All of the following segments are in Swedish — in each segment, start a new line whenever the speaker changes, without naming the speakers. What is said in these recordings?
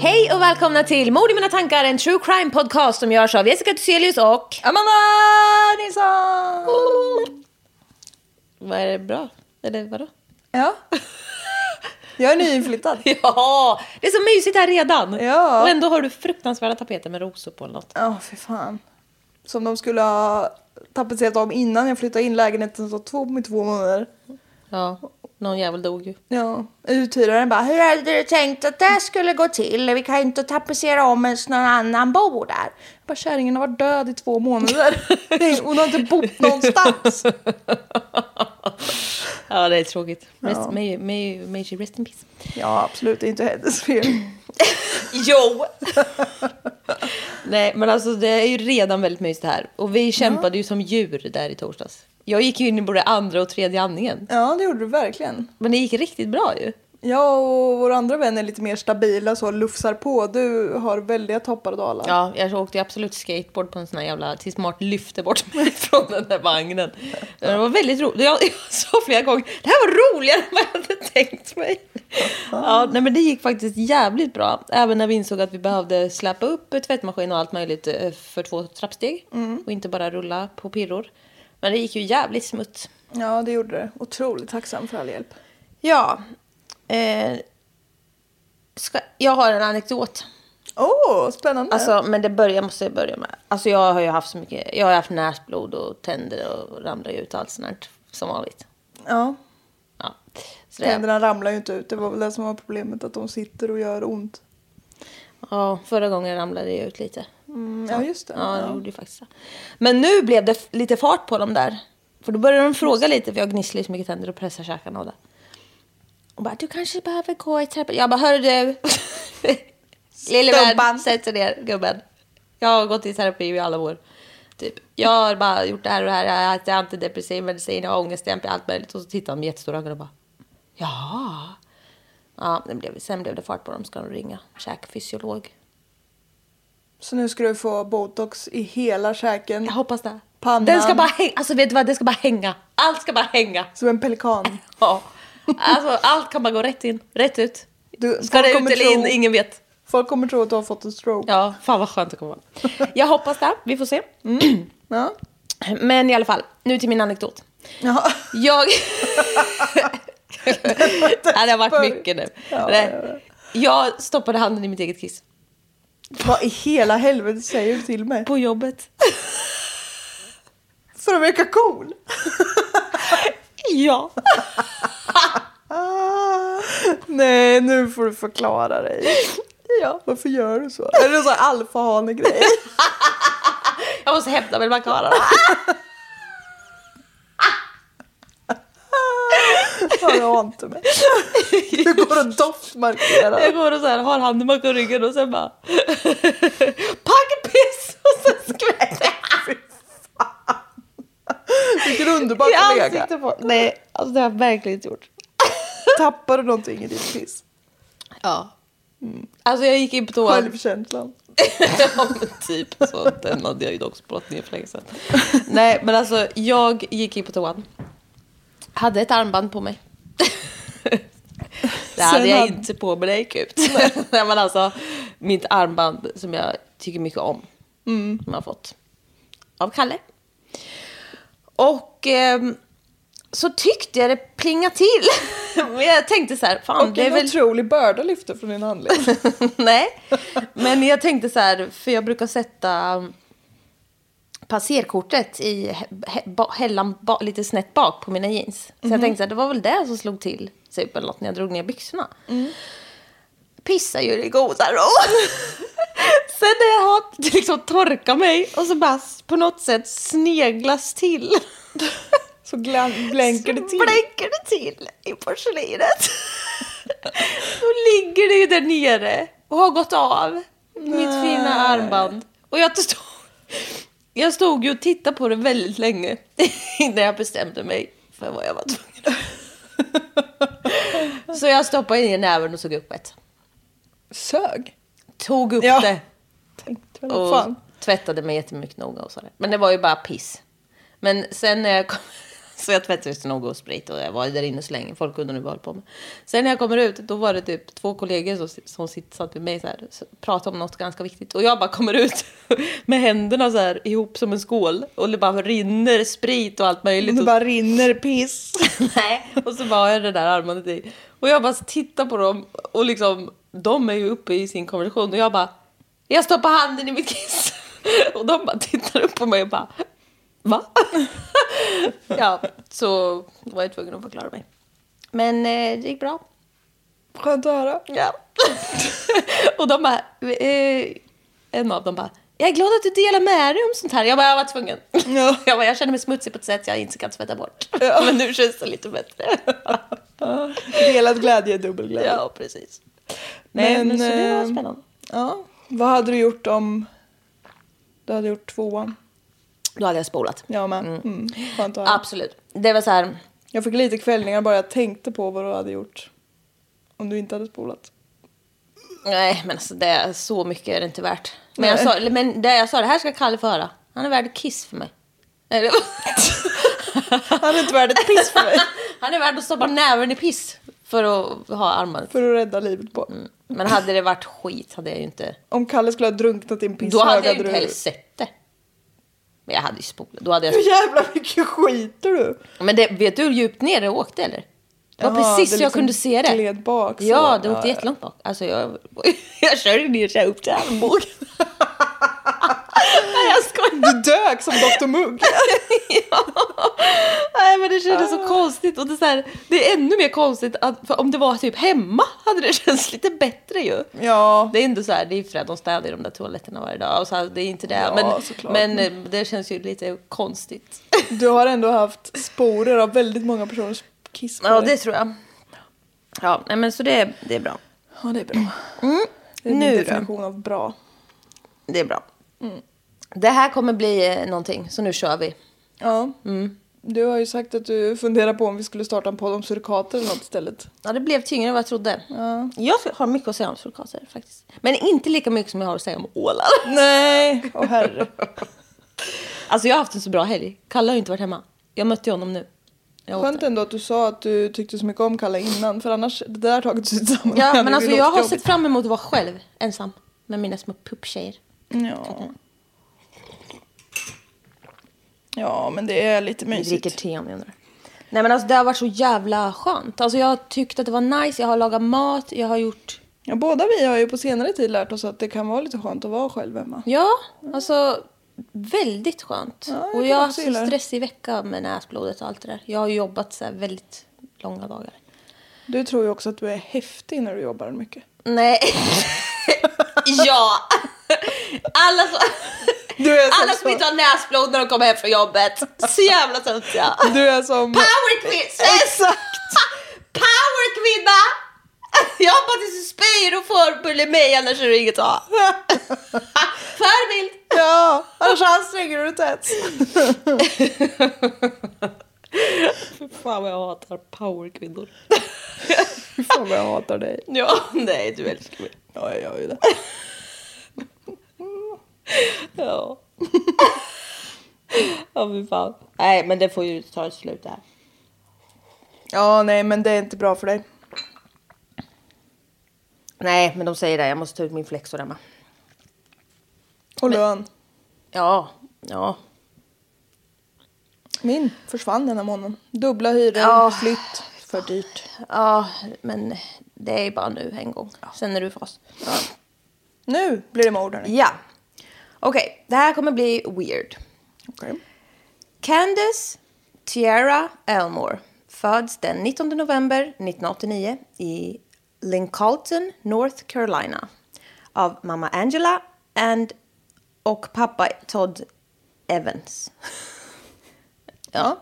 Hej och välkomna till Mord i mina tankar, en true crime podcast som görs av Jessica Thyselius och
Amanda Nilsson!
Vad är det bra? Eller vadå?
Ja. Jag är nyinflyttad.
Ja, det är så mysigt här redan.
Ja.
Och ändå har du fruktansvärda tapeter med rosor på eller något.
Ja, fy fan. Som de skulle ha tapetserat om innan jag flyttade in. Lägenheten stod tom i två månader.
Ja, någon jävel dog ju.
Ja. Uthyraren bara, hur hade du tänkt att det skulle gå till? Vi kan inte tapetsera om ens någon annan bor där. Jag bara, kärringen har varit död i två månader. Hon har inte bott någonstans.
Ja, det är tråkigt. Rest, may, may, may she rest in peace.
Ja, absolut. Det är inte hennes fel.
Jo! Nej, men alltså det är ju redan väldigt mysigt här. Och vi kämpade ju som djur där i torsdags. Jag gick ju in i både andra och tredje andningen.
Ja, det gjorde du verkligen.
Men det gick riktigt bra ju.
Jag och vår andra vän är lite mer stabila så lufsar på. Du har väldiga toppar och dalar.
Ja, jag åkte ju absolut skateboard på en sån här jävla... Tills Mart lyfte bort mig från den där vagnen. Men Det var väldigt roligt. Jag, jag sa flera gånger, det här var roligare än vad jag hade tänkt mig. Ja, nej, men det gick faktiskt jävligt bra. Även när vi insåg att vi behövde släppa upp tvättmaskin och allt möjligt eh, för två trappsteg. Och inte bara rulla på pirror. Men det gick ju jävligt smutt.
Ja, det gjorde det. Otroligt tacksam för all hjälp.
Ja. Eh, ska, jag har en anekdot.
Åh, oh, spännande.
Alltså, men det börjar, jag måste jag börja med. Alltså, jag har ju haft så mycket. Jag har haft näsblod och tänder och ramlar ju ut allt sånt här, som vanligt.
ja,
Ja. Så det,
tänderna ramlar ju inte ut. Det var väl det som var problemet, att de sitter och gör ont.
ja, förra gången ramlade jag ut lite. Mm.
Mm, ja, just det.
Ja, det gjorde ju faktiskt det. Men nu blev det f- lite fart på dem där. För då började de fråga lite, för jag gnisslar ju så mycket tänder och pressar käkarna och det. Och bara, du kanske behöver gå i terapi. Jag bara, hör du. Lille vän, sätt dig ner, gubben. Jag har gått i terapi i alla år. Typ, jag har bara gjort det här och det här. Jag äter antidepressiv medicin, jag har ångestdämpning, allt möjligt. Och så tittar de med jättestora ögon och bara, ja. Ja, det blev, sen blev det fart på dem. Ska de ringa käkfysiolog?
Så nu ska du få botox i hela käken.
Jag hoppas det.
Mm. Pannan.
Den ska bara hänga. Alltså vet du vad? Den ska bara hänga. Allt ska bara hänga.
Som en pelikan.
Ja. Alltså allt kan bara gå rätt in, rätt ut.
Du-
ska
folk
det ut
kommer
eller in?
tro-
Ingen vet.
Folk kommer tro att du har fått en stroke.
Ja, fan vad skönt det kommer vara. Jag hoppas det. Vi får se. Mm.
Ja.
Men i alla fall, nu till min anekdot.
ja.
Jag... Nej, det har varit mycket nu. Nej. Jag stoppade handen i mitt eget kiss.
Vad i hela helvete säger du till mig?
På jobbet.
För att verka cool?
Ja.
Ah. Nej, nu får du förklara dig.
ja.
Varför gör du så? Är det en sån här alfahane-grej?
Jag måste hämta mig bland karlarna.
Rör inte mig. Du går och doftmarkerar.
Jag går och så här, har handen bakom ryggen och sen bara... Paggpiss! Och sen skvätter jag
Vilken underbar
i
kollega.
ansiktet på Nej, alltså det har jag verkligen inte gjort.
Tappar du någonting i ditt piss?
Ja. Mm. Alltså jag gick in på toan.
Självkänslan.
ja, men typ så. Den hade jag ju dock spått ner för länge sedan. Nej, men alltså jag gick in på toan. Hade ett armband på mig. Det hade
Sen
jag
hade-
inte på mig när jag gick ut. Nej, men alltså mitt armband som jag tycker mycket om.
Mm.
Som jag har fått. Av Kalle. Och ehm, så tyckte jag det plingade till. men jag tänkte så här, fan
Och
det är
en
väl
otrolig börda lyfter från din handled.
Nej, men jag tänkte så här, för jag brukar sätta um, passerkortet i hä- hä- ba- hällan ba, lite snett bak på mina jeans. Så jag tänkte så här, det var väl det som slog till typ, eller något, när jag drog ner byxorna. Pissa ju i goda ro. Sen när jag har liksom torkat mig och så bara på något sätt sneglas till.
Så glan- blänker det
Så
till.
blänker det till i porslinet. Då ligger det ju där nere och har gått av. Mitt fina armband. Och jag stod, jag stod ju och tittade på det väldigt länge innan jag bestämde mig för vad jag var tvungen att- Så jag stoppade in näven och tog upp ett.
Sög.
Tog upp
Ja.
det
Tänkte väl,
och
fan.
tvättade mig jättemycket noga och sådär. Men det var ju bara piss. Men sen när jag kom... Så jag tvättade så noga och sprit och jag var där inne så länge. Folk kunde nu vad jag höll på med. Sen när jag kommer ut, då var det typ två kollegor som, som sitt, satt vid mig så här, så- pratade om något ganska viktigt. Och jag bara kommer ut med händerna så här ihop som en skål. Och det bara rinner sprit och allt möjligt.
Det
Och-
bara rinner piss.
Nej. Och så bara har jag det där armbandet i. Och jag bara tittar på dem och liksom, de är ju uppe i sin konversation och jag bara, jag stoppar handen i mitt kiss. Och de bara tittar upp på mig och bara, va? ja, så var jag tvungen att förklara mig. Men eh, det gick bra.
Skönt att höra.
Ja. och de bara, eh, en av dem bara, jag är glad att du delar med dig om sånt här. Jag bara, jag var tvungen.
Ja.
Jag bara, jag känner mig smutsig på ett sätt jag inte kan tvätta bort. Men nu känns det lite bättre.
Delad glädje är dubbel glädje.
Ja, precis. Nej, men,
Men,
så det var
eh,
spännande.
Ja. Vad hade du gjort om du hade gjort tvåan?
Då hade jag spolat.
Jag med. Mm. Skönt att höra.
Absolut. Det var så här,
Jag fick lite kvällningar bara jag tänkte på vad du hade gjort. Om du inte hade spolat.
nej men alltså det är så mycket är det inte värt. Men, jag
Nej.
sa, eller, men det jag sa, det här ska Kalle få höra. Han är värd kiss för mig. Eller-
Han är inte värd ett piss för mig.
Han är värd att stoppa näven i piss för att ha armbandet.
För att rädda livet på.
Men hade det varit skit hade jag ju inte...
Om Kalle skulle ha drunknat i en pisshög
Då hade jag ju inte
du-
heller sett det. Men jag hade ju spolat. Då hade jag...
Hur jävla mycket skiter du?
Men det, vet du hur djupt ner det åkte eller? Det var
Jaha,
precis
det
så jag
liksom
kunde se det.
gled bak, så.
ja, det åkte
Ja,
jättelångt bak. Alltså jag, jag körde ner så jag upp till armbågen. Nej, jag skojar.
Du dök som Dr Mugg.
Nej, men det kändes så konstigt. Och det, är så här, det är ännu mer konstigt att för om det var typ hemma hade det känts lite bättre ju.
Ja.
Det är ändå så här, det är fred, de städar i de där toaletterna varje dag. Och så här, det är inte det.
Ja, såklart.
men, men eh, det känns ju lite konstigt.
Du har ändå haft sporer av väldigt många personers kiss på
Ja,
dig.
det tror jag. Ja, nej, men så det, det är bra.
ja, det är bra. Det är
Nu
min
då?
definition av bra.
Det är bra. Det här kommer bli eh, någonting, så nu kör vi.
Ja. Mm. Du har ju sagt att du funderar på om vi skulle starta en podd om surikater eller något istället.
Ja, det blev tyngre än vad jag trodde. Jag har mycket att säga om surikater faktiskt. Men inte lika mycket som jag har att säga om ålar.
Nej, åh herre.
Alltså jag har haft en så bra helg. Kalle har ju inte varit hemma. Jag mötte ju honom nu. Jag åkte.
Skönt ändå att du sa att du tyckte så mycket om Kalle innan, för annars, det där har tagit sig samman.
Ja, men alltså jag har sett fram emot att vara själv, ensam. Med mina små pupptjejer.
Ja. ja, men det är lite
Vi dricker
mysigt.
te om jag undrar. Nej men alltså det har varit så jävla skönt. Alltså jag har tyckt att det var nice, jag har lagat mat, jag har gjort...
Ja, båda vi har ju på senare tid lärt oss att det kan vara lite skönt att vara själv hemma.
Ja, alltså väldigt skönt.
Ja, jag
och
kan
jag har haft
också
en
gilla det.
stressig vecka med näsblodet och allt det där. Jag har jobbat så här väldigt långa dagar.
Du tror ju också att du är häftig när du jobbar mycket.
Nej. ja. Alla som,
Du är som
alla som
så-
inte har näsblod när de kommer hem från jobbet. Så jävla töntiga.
Du är som...
Power quiz!
Exakt!
Power kvinna! Jag hoppas att du spyr och får bulle mig annars är det inget att ha. Förebild!
Ja, annars anstränger du dig inte ens.
Fan vad jag hatar powerkvinnor.
Fy fan vad jag hatar dig.
Ja, nej du älskar mig.
Ja, jag gör ju det.
Ja. Ja fy fan. Nej men det får ju ta ett slut där.
Ja, nej, men det är inte bra för dig.
Nej men de säger det, jag måste ta ut min flexor Emma.
Och lön.
Ja, ja.
Min försvann den här månaden. Dubbla hyror,
Ja.
flytt. För dyrt.
Ja men det är ju bara nu en gång. Sen är du fast.
Nu blir det mord hörni.
Ja. Okej, det här kommer bli weird.
Okej.
Candace Tiara Elmore föds den 19 november 1989 i Lincoln, North Carolina av mamma Angela and och pappa Todd Evans. ja.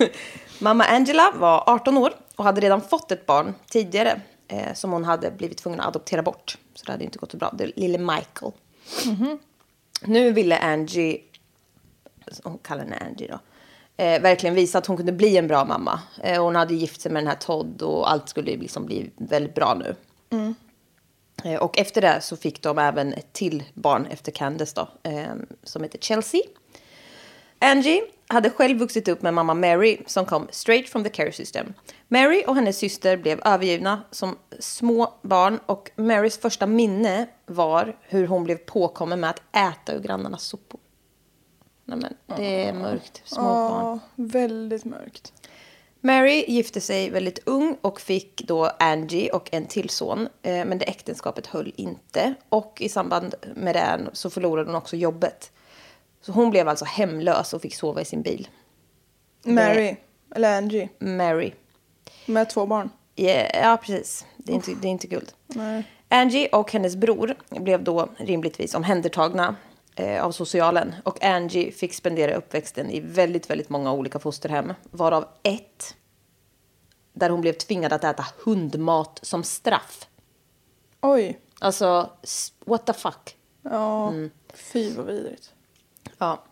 mamma Angela var 18 år och hade redan fått ett barn tidigare eh, som hon hade blivit tvungen att adoptera bort. Så det hade ju inte gått så bra. Det är lille Michael. Nu ville Angie hon kallar henne Angie då, eh, verkligen visa att hon kunde bli en bra mamma. Eh, hon hade gift sig med den här Todd och allt skulle ju liksom bli väldigt bra nu. Eh, och efter det så fick de även ett till barn efter Candace då, eh, som heter Chelsea. Angie hade själv vuxit upp med mamma Mary som kom straight from the care system. Mary och hennes syster blev övergivna som små barn och Marys första minne var hur hon blev påkommen med att äta ur grannarnas sopor. Nej men, det är mörkt. Små barn.
Ja, väldigt mörkt.
Mary gifte sig väldigt ung och fick då Angie och en till son. Eh, Men det äktenskapet höll inte. Och i samband med det så förlorade hon också jobbet. Så hon blev alltså hemlös och fick sova i sin bil.
Mary, eller Angie,
Mary.
med två barn.
Ja, ja, precis. Det är inte, det är inte guld.
Nej.
Angie och hennes bror blev då rimligtvis omhändertagna eh, av socialen. Och Angie fick spendera uppväxten i väldigt, väldigt många olika fosterhem. Varav ett där hon blev tvingad att äta hundmat som straff.
Oj.
Alltså, s- what the fuck?
Ja,
Mm.
fy vad vidrigt.
Ja.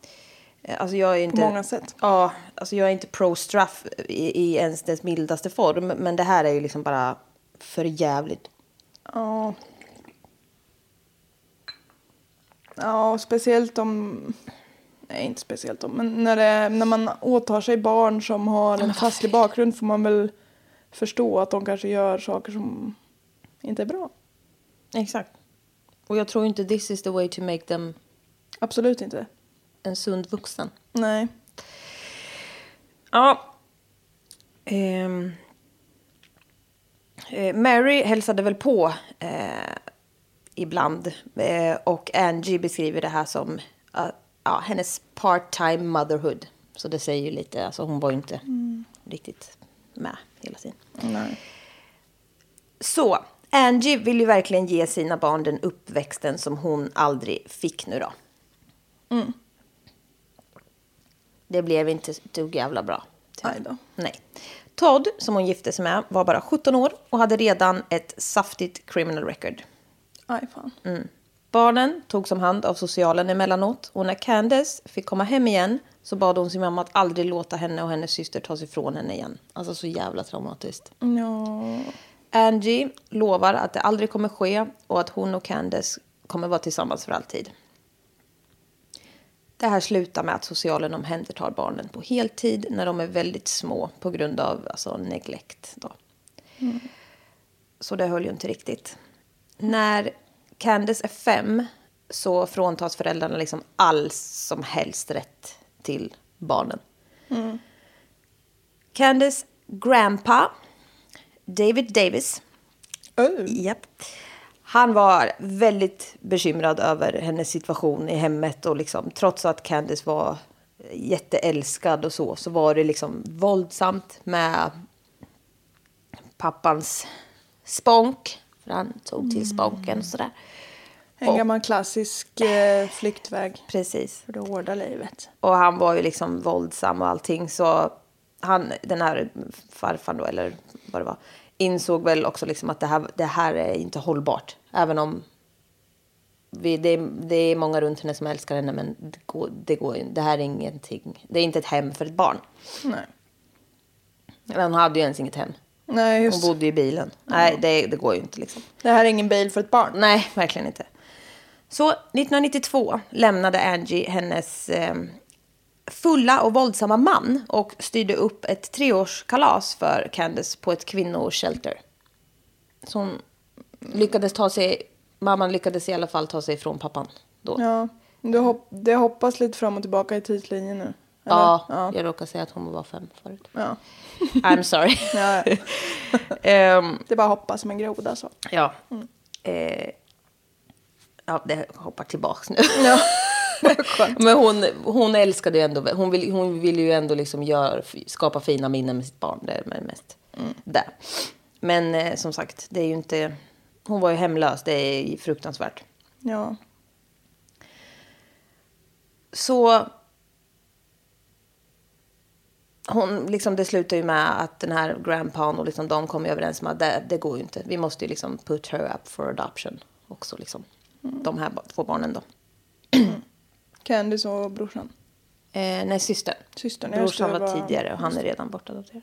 Eh, Alltså jag är inte,
många sätt.
Ja, alltså jag är inte pro-straff i, i ens dess mildaste form. Men det här är ju liksom bara för jävligt.
Ja. Ja, och speciellt om... Nej, inte speciellt om, men när, det, när man åtar sig barn som har en taskig bakgrund får man väl förstå att de kanske gör saker som inte är bra.
Exakt. Och jag tror inte this is the way to make them
Absolut inte.
en sund vuxen.
Nej.
Ja. Ehm. Eh, Mary hälsade väl på eh, ibland eh, och Angie beskriver det här som eh, ja, hennes part-time motherhood. Så det säger ju lite, alltså hon var ju inte riktigt med hela tiden.
Nej.
Så, Angie vill ju verkligen ge sina barn den uppväxten som hon aldrig fick nu då. Det blev inte ett dugg jävla bra.
Aj då.
Nej. Todd, som hon gifte sig med, var bara 17 år och hade redan ett saftigt criminal record.
Aj fan.
Barnen togs om hand av socialen emellanåt och när Candace fick komma hem igen så bad hon sin mamma att aldrig låta henne och hennes syster ta sig ifrån henne igen. Alltså så jävla traumatiskt.
Ja.
Angie lovar att det aldrig kommer ske och att hon och Candace kommer vara tillsammans för alltid. Det här slutar med att socialen omhändertar barnen på heltid när de är väldigt små på grund av alltså, neglekt. Då. Så det höll ju inte riktigt. När Candace är fem så fråntas föräldrarna liksom all som helst rätt till barnen. Candace grandpa, David Davis,
Öh.
Japp. Han var väldigt bekymrad över hennes situation i hemmet och liksom, trots att Candice var jätteälskad och så, så var det liksom våldsamt med pappans spånk. För han tog till spånken och sådär.
En gammal klassisk eh, flyktväg
Precis.
för det hårda livet.
Och han var ju liksom våldsam och allting så han, den här farfan då, eller vad det var, insåg väl också liksom att det här, det här är inte hållbart. Även om vi, det, det är många runt henne som älskar henne, men det går, det går ju- Det här är ingenting. Det är inte ett hem för ett barn.
Nej.
Men hon hade ju ens inget hem.
Nej,
Hon
just det.
bodde i bilen. Nej, det, det går ju inte liksom.
Det här är ingen bil för ett barn.
Nej, verkligen inte. Så 1992 lämnade Angie hennes eh, fulla och våldsamma man och styrde upp ett treårskalas för Candace på ett kvinnoshelter. Så hon lyckades ta sig, mamman lyckades i alla fall ta sig ifrån pappan då.
Ja. Du hop- det hoppas lite fram och tillbaka i tidslinjen nu. eller?
Ja,
ja.
jag råkade säga att hon var fem förut.
ja.
I'm sorry.
Ja, ja.
Ehm,
Det är bara att hoppa som en groda så.
ja.
Mm.
Eh, ja, det hoppar tillbaks nu.
Ja. Skönt.
Men hon, hon älskade ju ändå, hon vill, hon vill ju ändå liksom göra, skapa fina minnen med sitt barn. Det är mest där. Men eh, som sagt, det är ju inte, hon var ju hemlös, det är ju fruktansvärt.
Ja.
Så hon, liksom, det slutar ju med att den här grandpan och liksom, de kommer ju överens om att det, det går ju inte. Vi måste ju liksom put her up for adoption också. Liksom. De här ba- två barnen då.
Candice och brorsan.
Eh, nej, systern.
Systern, jag
Brorsan var
förstår vad-
tidigare och han är redan bortadopterad.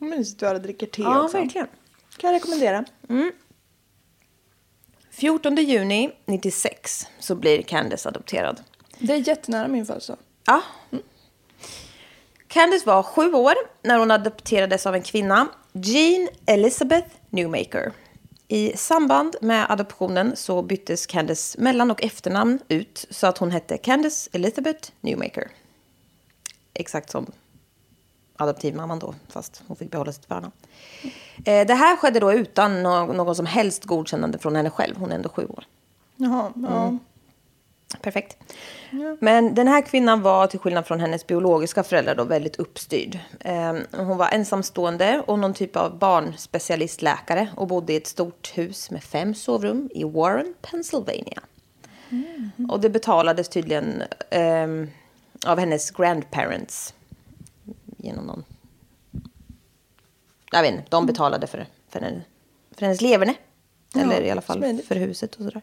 Mysigt du alla dricker te
Ja,
också.
verkligen.
Kan jag rekommendera.
14 juni 96 så blir Candace adopterad.
Det är jättenära min födelsedag.
Ja. Candace var sju år när hon adopterades av en kvinna, Jean Elizabeth Newmaker. I samband med adoptionen så byttes Candace mellan och efternamn ut så att hon hette Candace Elizabeth Newmaker. Exakt som adoptivmamman då, fast hon fick behålla sitt förnamn. Eh, Det här skedde då utan nå- någon som helst godkännande från henne själv, hon är ändå sju år.
Jaha, ja.
Mm. Perfekt. Men den här kvinnan var, till skillnad från hennes biologiska föräldrar, då, väldigt uppstyrd. Eh, Hon var ensamstående och någon typ av barnspecialistläkare och bodde i ett stort hus med fem sovrum i Warren, Pennsylvania. Och det betalades tydligen ehm, av hennes grandparents. Genom någon... Jag vet inte, de betalade för, för, henne, för hennes leverne. Eller i alla fall
smidigt.
för huset och sådär.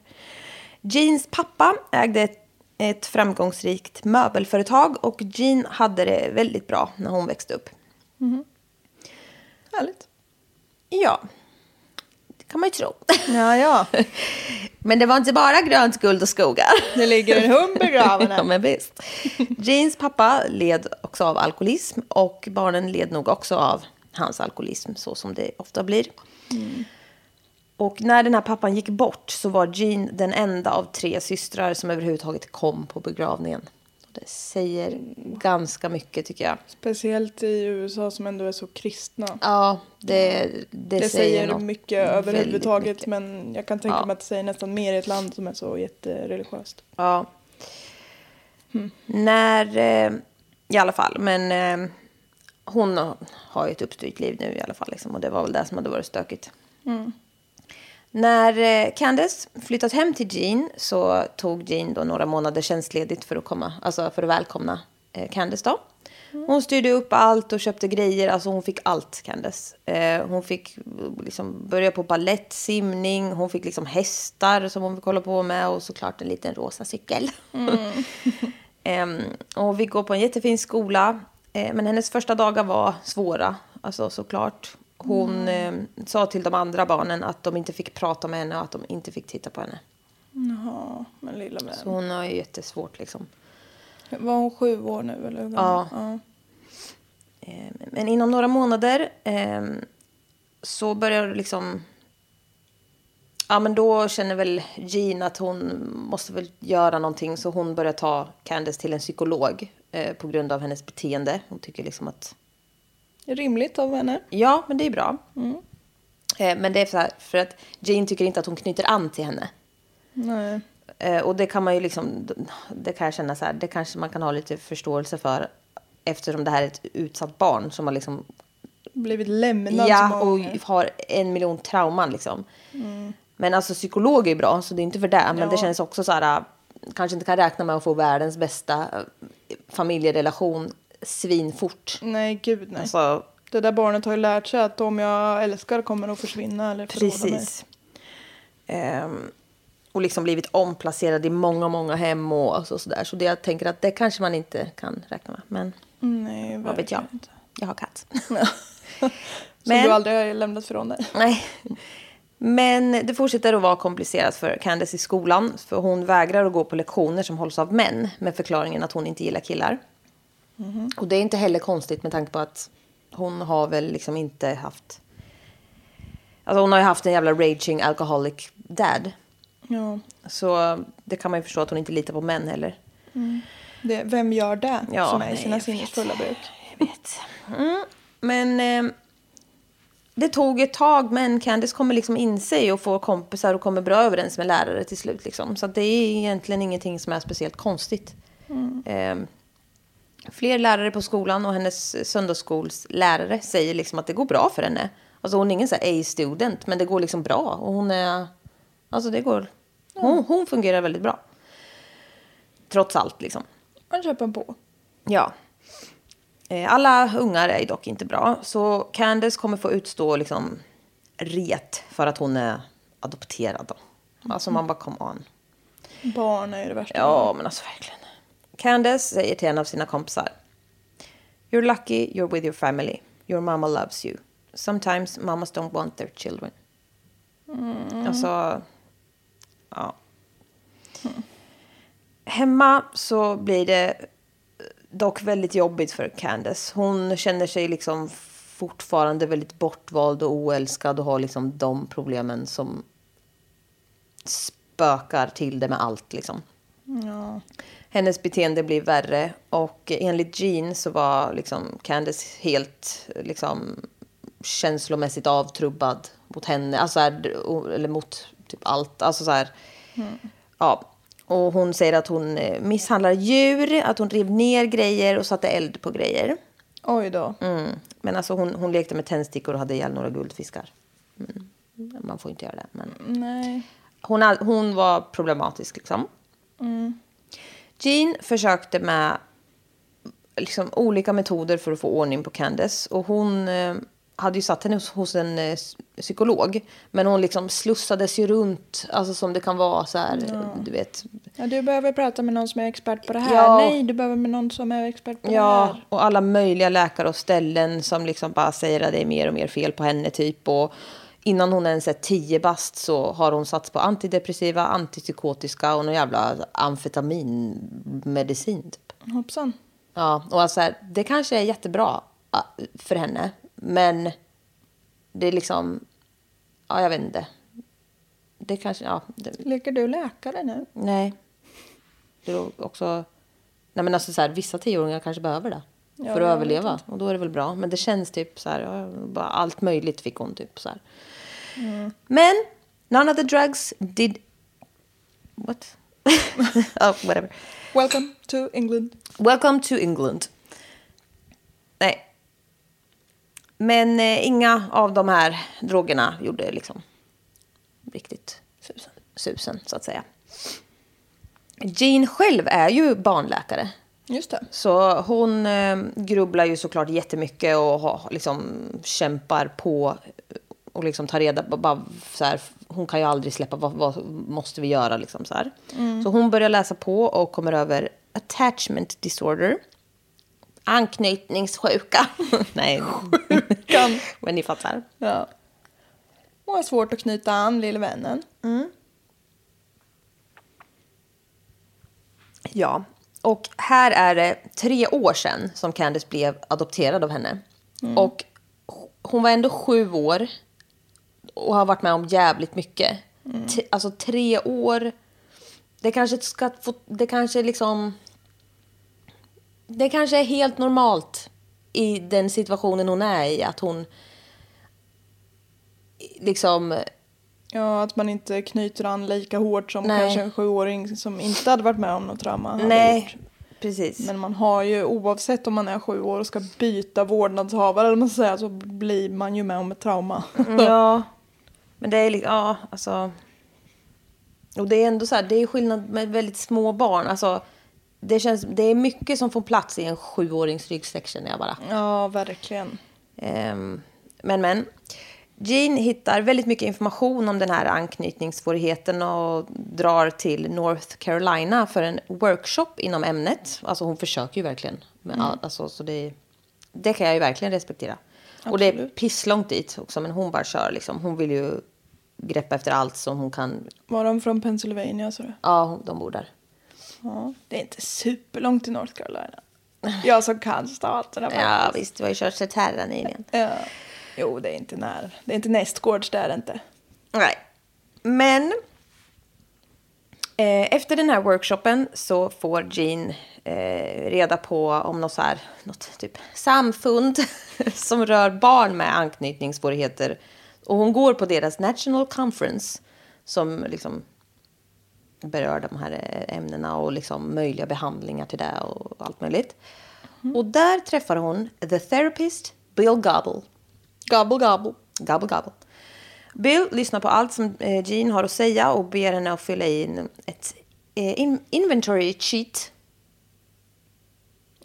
Jeans pappa ägde ett, ett framgångsrikt möbelföretag och Jean hade det väldigt bra när hon växte upp.
Härligt.
Ja, det kan man ju tro.
Ja, ja.
Men det var inte bara grönt guld och skogar.
Det ligger en hund begraven
ja,
här.
men visst. Jeans pappa led också av alkoholism och barnen led nog också av hans alkoholism så som det ofta blir.
Mm.
Och när den här pappan gick bort så var Jean den enda av tre systrar som överhuvudtaget kom på begravningen. Det säger ganska mycket tycker jag.
Speciellt i USA som ändå är så kristna.
Ja, det, det, säger,
Det säger
något.
mycket överhuvudtaget
Väldigt mycket.
men jag kan tänka
Ja.
mig att det säger nästan mer i ett land som är så jättereligiöst.
Ja. När, eh, i alla fall, men eh, hon har ju ett uppstyrt liv nu i alla fall. Liksom, och det var väl det som hade varit stökigt. När eh, Candace flyttat hem till Jean så tog Jean då några månader tjänstledigt för att, komma, alltså för att välkomna eh, Candace. Då. Hon styrde upp allt och köpte grejer. Alltså hon fick allt, Candace. Eh, hon fick eh, liksom börja på ballett, simning. Hon fick liksom hästar som hon fick hålla på med och såklart en liten rosa cykel. Ehm, och hon fick gå på en jättefin skola. Eh, men hennes första dagar var svåra, alltså såklart. Hon eh, sa till de andra barnen att de inte fick prata med henne och att de inte fick titta på henne.
Jaha, men lilla vän.
Så hon har ju jättesvårt liksom.
Var hon sju år nu eller hur
Ja.
gammal? ja.
Eh, Men inom några månader ehm, så börjar det liksom... Ja, men då känner väl Jean att hon måste väl göra någonting så hon börjar ta Candace till en psykolog eh, på grund av hennes beteende. Hon tycker liksom att
Rimligt av henne.
Ja, men det är bra. Mm. Eh, Men det är för, här, för att Jane tycker inte att hon knyter an till henne.
Nej.
Eh, Och det kan man ju liksom, det kan jag känna så här, det kanske man kan ha lite förståelse för eftersom det här är ett utsatt barn som har liksom,
Blivit lämnad så
ja,
många
och
gånger.
har en miljon trauman liksom. Men alltså psykolog är ju bra, så det är inte för det. Men
Ja.
det känns också så här, äh, kanske inte kan räkna med att få världens bästa eh, familjerelation svinfort.
Nej, gud nej.
Alltså,
Det där barnet har ju lärt sig att om jag älskar kommer att försvinna eller förråda mig.
Precis. Ehm, och liksom blivit omplacerad i många, många hem och alltså sådär. Så det, jag tänker att det kanske man inte kan räkna med. Men
Nej,
vad vet jag?
verkligen inte.
Jag har katt.
Som
Men-
du aldrig har lämnat från dig.
Nej. Men det fortsätter att vara komplicerat för Candace i skolan. För hon vägrar att gå på lektioner som hålls av män. Med förklaringen att hon inte gillar killar. Och det är inte heller konstigt med tanke på att hon har väl liksom inte haft... Alltså hon har ju haft en jävla raging alcoholic dad.
Ja,
Så det kan man ju förstå att hon inte litar på män heller.
det, vem gör det
Ja,
som är i
nej,
sina
jag
sinnens
vet.
fulla bruk?
Jag vet. Mm. Men eh, det tog ett tag, men Candice kommer liksom in sig och får kompisar och kommer bra överens med lärare till slut. Liksom. Så att det är egentligen ingenting som är speciellt konstigt. Eh, fler lärare på skolan och hennes söndagsskolslärare säger liksom att det går bra för henne. Alltså hon är ingen så här A-student, men det går liksom bra. Och hon är... Alltså det går... Hon, hon fungerar väldigt bra. Trots allt liksom.
Man köper en på.
Ja. Eh, Alla ungar är dock inte bra, så Candace kommer få utstå liksom ret för att hon är adopterad. Då. Alltså man bara, come on.
Barn är ju det värsta.
Ja, men alltså verkligen. Candace säger till en av sina kompisar. You're lucky you're with your family. Your mamma loves you. Sometimes mamas don't want their children. Alltså, ja. Hemma så blir det eh, dock väldigt jobbigt för Candace. Hon känner sig liksom fortfarande väldigt bortvald och oälskad och har liksom de problemen som spökar till det med allt liksom.
Ja.
Hennes beteende blir värre och enligt Jean så var liksom Candace helt liksom, känslomässigt avtrubbad mot henne, alltså, så här, eller mot typ allt. Alltså, så här, ja. Och hon säger att hon eh, misshandlar djur, att hon rev ner grejer och satte eld på grejer.
Oj då.
Mm. Men alltså hon, hon lekte med tändstickor och hade ihjäl några guldfiskar. Mm. Man får inte göra det. Men
Nej.
hon, hade- hon var problematisk liksom. Jean försökte med liksom, olika metoder för att få ordning på Candace. Och hon eh, hade ju satt henne hos, hos en eh, s- psykolog. Men hon liksom slussades ju runt, alltså som det kan vara så här, du vet.
Ja, du behöver prata med någon som är expert på det här.
Ja.
Nej, du behöver med någon som är expert på det
Ja,
här.
och alla möjliga läkare och ställen som liksom bara säger att det är mer och mer fel på henne typ. Och innan hon ens är 10 bast så har hon satts på antidepressiva, antipsykotiska och någon jävla amfetaminmedicin typ.
Hoppsan.
Ja, och alltså här, det kanske är jättebra ah, för henne, men det är liksom, ja jag vet inte. Det kanske, ja, det,
Leker du läkare nu?
nej. Det är också, nej men alltså så här, vissa tioåringar kanske behöver det
Ja,
för
jag
att
vet
överleva och då är det väl bra. Men det känns typ så här, ja, bara allt möjligt fick hon typ så här.
Mm.
Men none of the drugs did, what? oh, whatever.
Welcome to England.
Welcome to England. Nej. Men eh, inga av de här drogerna gjorde liksom riktigt susen, susen så att säga. Jean själv är ju barnläkare.
Just det.
Så hon eh, grubblar ju såklart jättemycket och har, liksom, kämpar på och liksom tar reda på bara, så här, hon kan ju aldrig släppa, vad, vad måste vi göra liksom så här. Så hon börjar läsa på och kommer över attachment disorder. Anknytningssjuka. Nej. Sjukan. Men ni fattar.
Ja. Och har svårt att knyta an, lille vännen.
Ja, och här är det tre år sedan som Candice blev adopterad av henne. Och hon var ändå sju år och har varit med om jävligt mycket. T- alltså tre år. Det kanske ska få, det kanske liksom. Det kanske är helt normalt i den situationen hon är i att hon. Liksom
Ja, att man inte knyter an lika hårt som
Nej.
kanske en sjuåring som inte hade varit med om något trauma hade
nej,
gjort.
precis.
Men man har ju, oavsett om man är sju år och ska byta vårdnadshavare eller vad man säger, så blir man
Mm.
ju med om ett trauma.
Ja, men det är liksom, ja, alltså. Och det är ändå så här, det är skillnad med väldigt små barn. Alltså, det, känns, det är mycket som får plats i en sjuårings ryggsäck känner jag bara.
Ja, verkligen.
Ehm, men men. Jean hittar väldigt mycket information om den här anknytningssvårigheten och drar till North Carolina för en workshop inom ämnet. Alltså hon försöker ju verkligen. Men, all- alltså, så det, det kan jag ju verkligen respektera. Och det är
Absolut.
pisslångt dit också men hon bara kör liksom. Hon vill ju greppa efter allt som hon kan.
Var de från Pennsylvania sa du?
Ja, hon- de bor där.
Ja. Det är inte superlångt till North Carolina. Jag som kan staterna
Ja
faktiskt.
visst, du har ju kört sig terra nyligen.
Ja. Jo, det är inte nära. Det är inte nästgårds, det är det inte.
Nej. Men eh, efter den här workshopen så får Jean eh, reda på om något, så här, något typ samfund som rör barn med anknytningssvårigheter. Och hon går på deras National Conference som liksom berör de här eh, ämnena och liksom möjliga behandlingar till det och allt möjligt. Och där träffar hon the therapist Bill Gobble. Gobble Gobble. Gobble Gobble. Bill lyssnar på allt som eh, Jean har att säga och ber henne att fylla in ett eh, in- inventory sheet.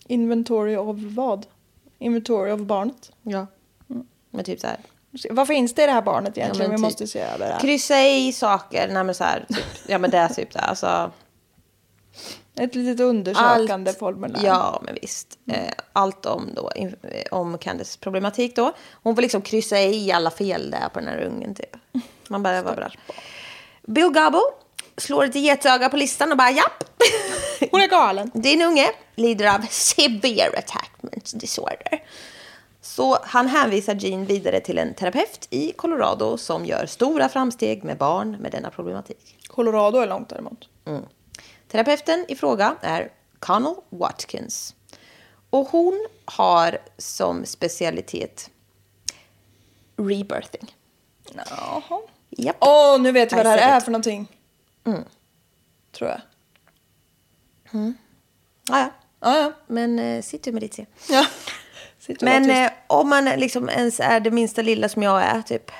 Inventory of vad? Inventory of barnet.
Ja. Men typ så här.
Vad finns det i det här barnet egentligen?
men
Vi
typ-
måste se över det. här.
Kryssa i saker. Nej men så här. Typ. Ja men det är typ det. Alltså,
Ett litet undersökande Mm. formulär.
Ja men visst. Eh, allt om då. in- eh, Om Candices problematik då. Hon får liksom kryssa i alla fel där på den här ungen typ. Man bara vad bra. Bill Gabo slår ett getöga på listan och bara japp.
Hon är galen.
Din unge lider av severe attachment disorder. Så han hänvisar Jean vidare till en terapeut i Colorado som gör stora framsteg med barn med denna problematik.
Colorado är långt däremot.
Terapeuten i fråga är Connell Watkins. Och hon har som specialitet rebirthing.
Jaha.
Japp.
Åh, nu vet jag vad
I
det
said
här är
it.
för någonting.
Mm.
Tror jag.
Ja, ja.
Ja, ja.
Men eh, sitt du med ditt C.
ja. Sitter och
Men
var tyst.
eh, om man liksom ens är det minsta lilla som jag är, typ.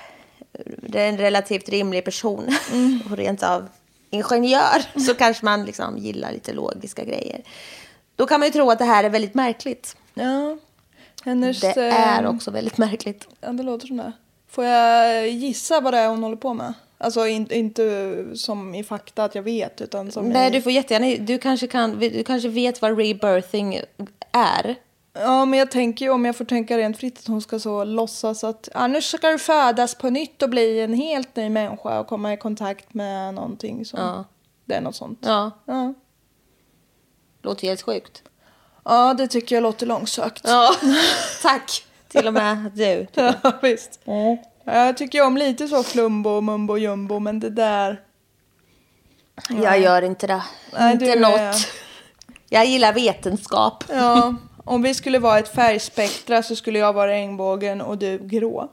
Det är en relativt rimlig person
Mm.
och rent av ingenjör. Så kanske man liksom gillar lite logiska grejer. Då kan man ju tro att det här är väldigt märkligt.
ja. Hennes...
Det
eh,
är också väldigt märkligt.
Ja, det låter som det. Får jag gissa vad det är hon håller på med? Alltså in, inte som i fakta att jag vet, utan som
Nej,
i...
du får jättegärna... Du kanske, kan, du kanske vet vad rebirthing är.
Ja, men jag tänker ju om jag får tänka rent fritt att hon ska så låtsas att annars ska du födas på nytt och bli en helt ny människa och komma i kontakt med någonting som...
Ja.
Det är något sånt.
Ja,
Ja.
låter helt sjukt.
Ja, det tycker jag låter långsökt.
Ja, tack. Till och med du.
Ja, visst.
Mm.
Jag tycker ju om lite så flumbo och mumbo jumbo, men det där...
Jag gör inte det.
Nej,
inte
du är-
något. Jag gillar vetenskap.
Ja, om vi skulle vara ett färgspektra så skulle jag vara regnbågen och du grå.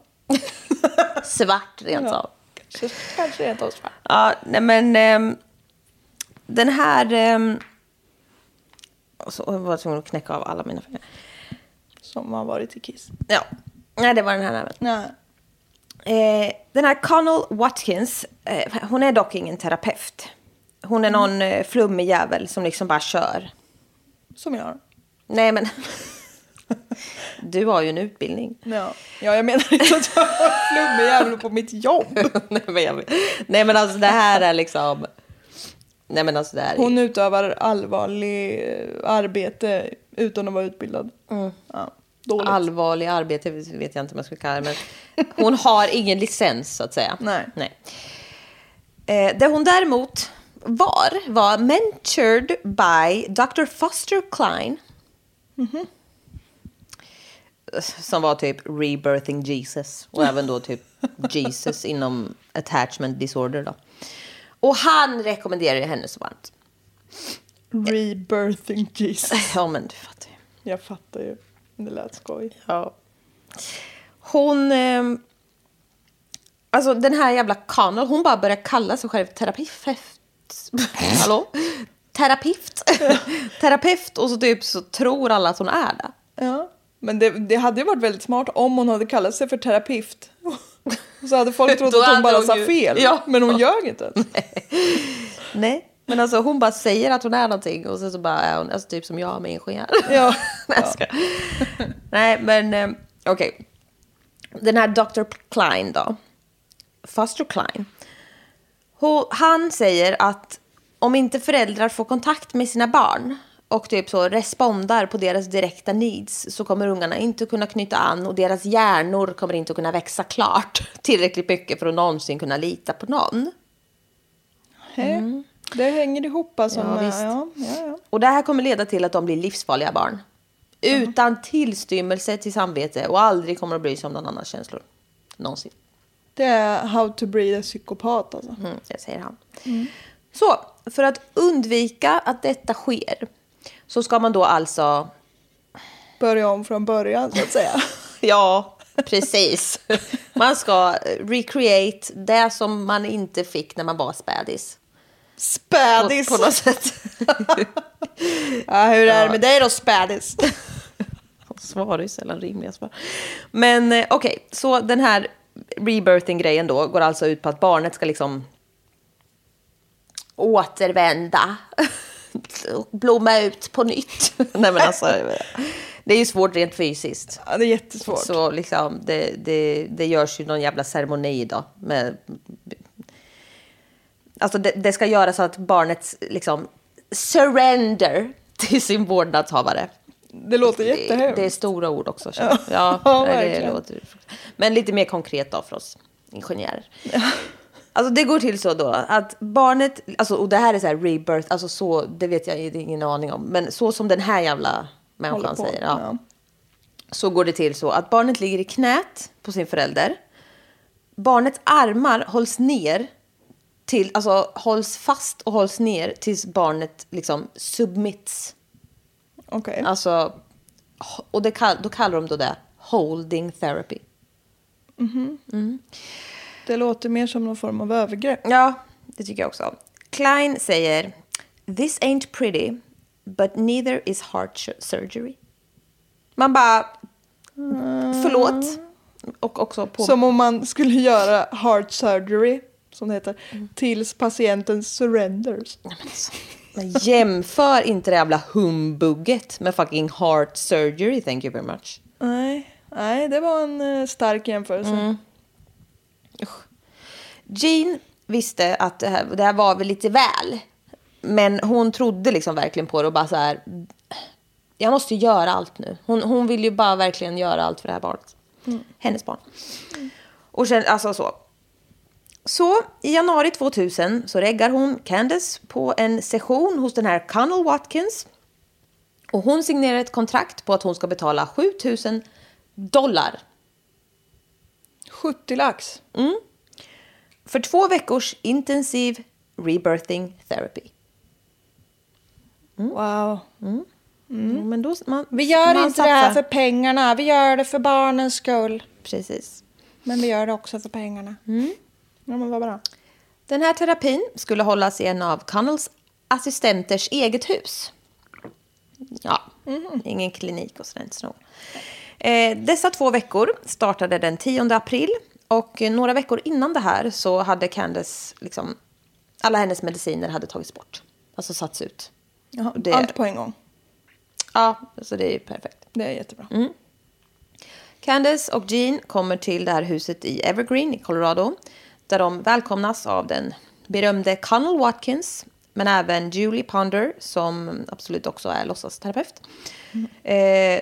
Svart rent av.
Så kanske rent av svart.
Ja, nej men... ehm, den här... ehm, och så, jag var tvungen att knäcka av alla mina fingrar.
Som har varit i Kiss.
Ja, nej det var den här näven.
Nej.
Eh, den här Connell Watkins, eh, hon är dock ingen terapeut. Hon är någon eh, flummig jävel som liksom bara kör.
Som jag.
Nej men... du har ju en utbildning.
Ja. ja, jag menar inte att jag var en flummig jävel på mitt jobb.
nej, men jag, nej men alltså det här är liksom... Nej men alltså det här är...
Hon utövar allvarlig eh, arbete utan att vara utbildad.
Mm.
Ja, dåligt.
Allvarlig arbete vet jag inte om jag skulle kalla det. Men hon har ingen licens så att säga.
Nej.
Nej. Eh, det hon däremot var, var mentored by Dr. Foster Klein. Som var typ rebirthing Jesus. Och även då typ Jesus inom attachment disorder då. Och han rekommenderar ju henne så varmt.
Rebirthing Jesus.
Ja men du fattar ju.
Jag fattar ju. Det lät skoj.
Ja. Hon... ehm, alltså den här jävla Connell, hon bara börjar kalla sig själv terapeut. Hallå? Terapeut. terapeut och så typ så tror alla att hon är det.
Ja. Men det, det hade ju varit väldigt smart om hon hade kallat sig för terapeut. Så hade folk trott
Då
att hon
hade
bara
hon
sa
ju-
fel.
Ja.
Men hon ljög inte ens.
Nej. Men alltså hon bara säger att hon är någonting och sen så bara är hon alltså, typ som jag med ingenjör.
Ja.
Nej, jag skojar. Nej men eh, okej. Den här Dr. Klein då. Foster Klein. Ho- Han säger att om inte föräldrar får kontakt med sina barn och typ så respondar på deras direkta needs så kommer ungarna inte kunna knyta an och deras hjärnor kommer inte kunna växa klart tillräckligt mycket för att någonsin kunna lita på någon.
Mm. Det hänger ihop alltså.
Ja,
med,
visst.
Ja, ja, ja.
Och det här kommer leda till att de blir livsfarliga barn. Utan tillstymmelse till samvete och aldrig kommer att bry sig om någon annans känslor. Någonsin.
Det är how to breed a psykopat alltså.
Mm, det säger han. Så, för att undvika att detta sker så ska man då alltså...
Börja om från början så att säga.
Ja, precis. Man ska recreate det som man inte fick när man var spädis. På,
Spädis!
på något sätt.
Ja, hur är det med dig då spädis?
Svar är ju sällan rimliga svar. Men eh, okej, så den här rebirthing-grejen då går alltså ut på att barnet ska liksom återvända och blomma ut på nytt. Nej men alltså, det är ju svårt rent fysiskt.
Ja, det är jättesvårt.
Så liksom, det, det, det görs ju någon jävla ceremoni då. Med, alltså det, det ska göras så att barnet liksom surrender till sin vårdnadshavare.
Det låter
Det,
jättehemskt.
det är stora ord också. känner jag. Ja,
Ja,
nej, det
verkligen.
låter. Men lite mer konkret då för oss ingenjörer. Alltså det går till så då att barnet, alltså, och det här är så här rebirth, alltså så, det vet jag det är ingen aning om, men så som den här jävla människan säger, ja, så går det till så att barnet ligger i knät på sin förälder. Barnets armar hålls ner till, alltså hålls fast och hålls ner tills barnet liksom submits.
Okej.
Alltså, och det, kall- då kallar de då det holding therapy.
Det låter mer som någon form av övergrepp.
Ja, det tycker jag också. Klein säger This ain't pretty, but neither is heart su- surgery. Man bara, Mm. förlåt. Och också på...
Som om man skulle göra heart surgery, som det heter, tills patienten surrenders.
Men jämför inte det jävla humbugget med fucking heart surgery, thank you very much.
Nej, nej det var en eh, stark jämförelse.
Jean visste att det här, det här var väl lite väl. Men hon trodde liksom verkligen på det och bara så här. Jag måste göra allt nu. Hon, hon vill ju bara verkligen göra allt för det här barnet. Hennes barn. Och sen, alltså så. Så i januari 2000 så reggar hon Candace på en session hos den här Connell Watkins. Och hon signerar ett kontrakt på att hon ska betala 7000 dollar Mm.
70 lax.
för två veckors intensiv rebirthing therapy.
Wow.
Jo, Mm. Men då, man,
Mm. Vi gör
man
inte det här
satsar.
för pengarna, vi gör det för barnens skull.
Precis.
Men vi gör det också för pengarna. Mm. Ja, men vad bra.
Den här terapin skulle hållas i en av Connells assistenters eget hus. Mm. Ja, ingen klinik och sådär. inte så noga. Eh, dessa två veckor startade den 10 april. Och eh, några veckor innan det här så hade Candace, liksom, alla hennes mediciner hade tagits bort. Alltså satts ut.
Jaha,
Det-
Allt på en gång.
Ja, så det är ju perfekt.
Det är jättebra.
Candace och Jean kommer till det här huset i Evergreen i Colorado där de välkomnas av den berömde Connell Watkins men även Julie Ponder som absolut också är låtsasterapeut. Eh,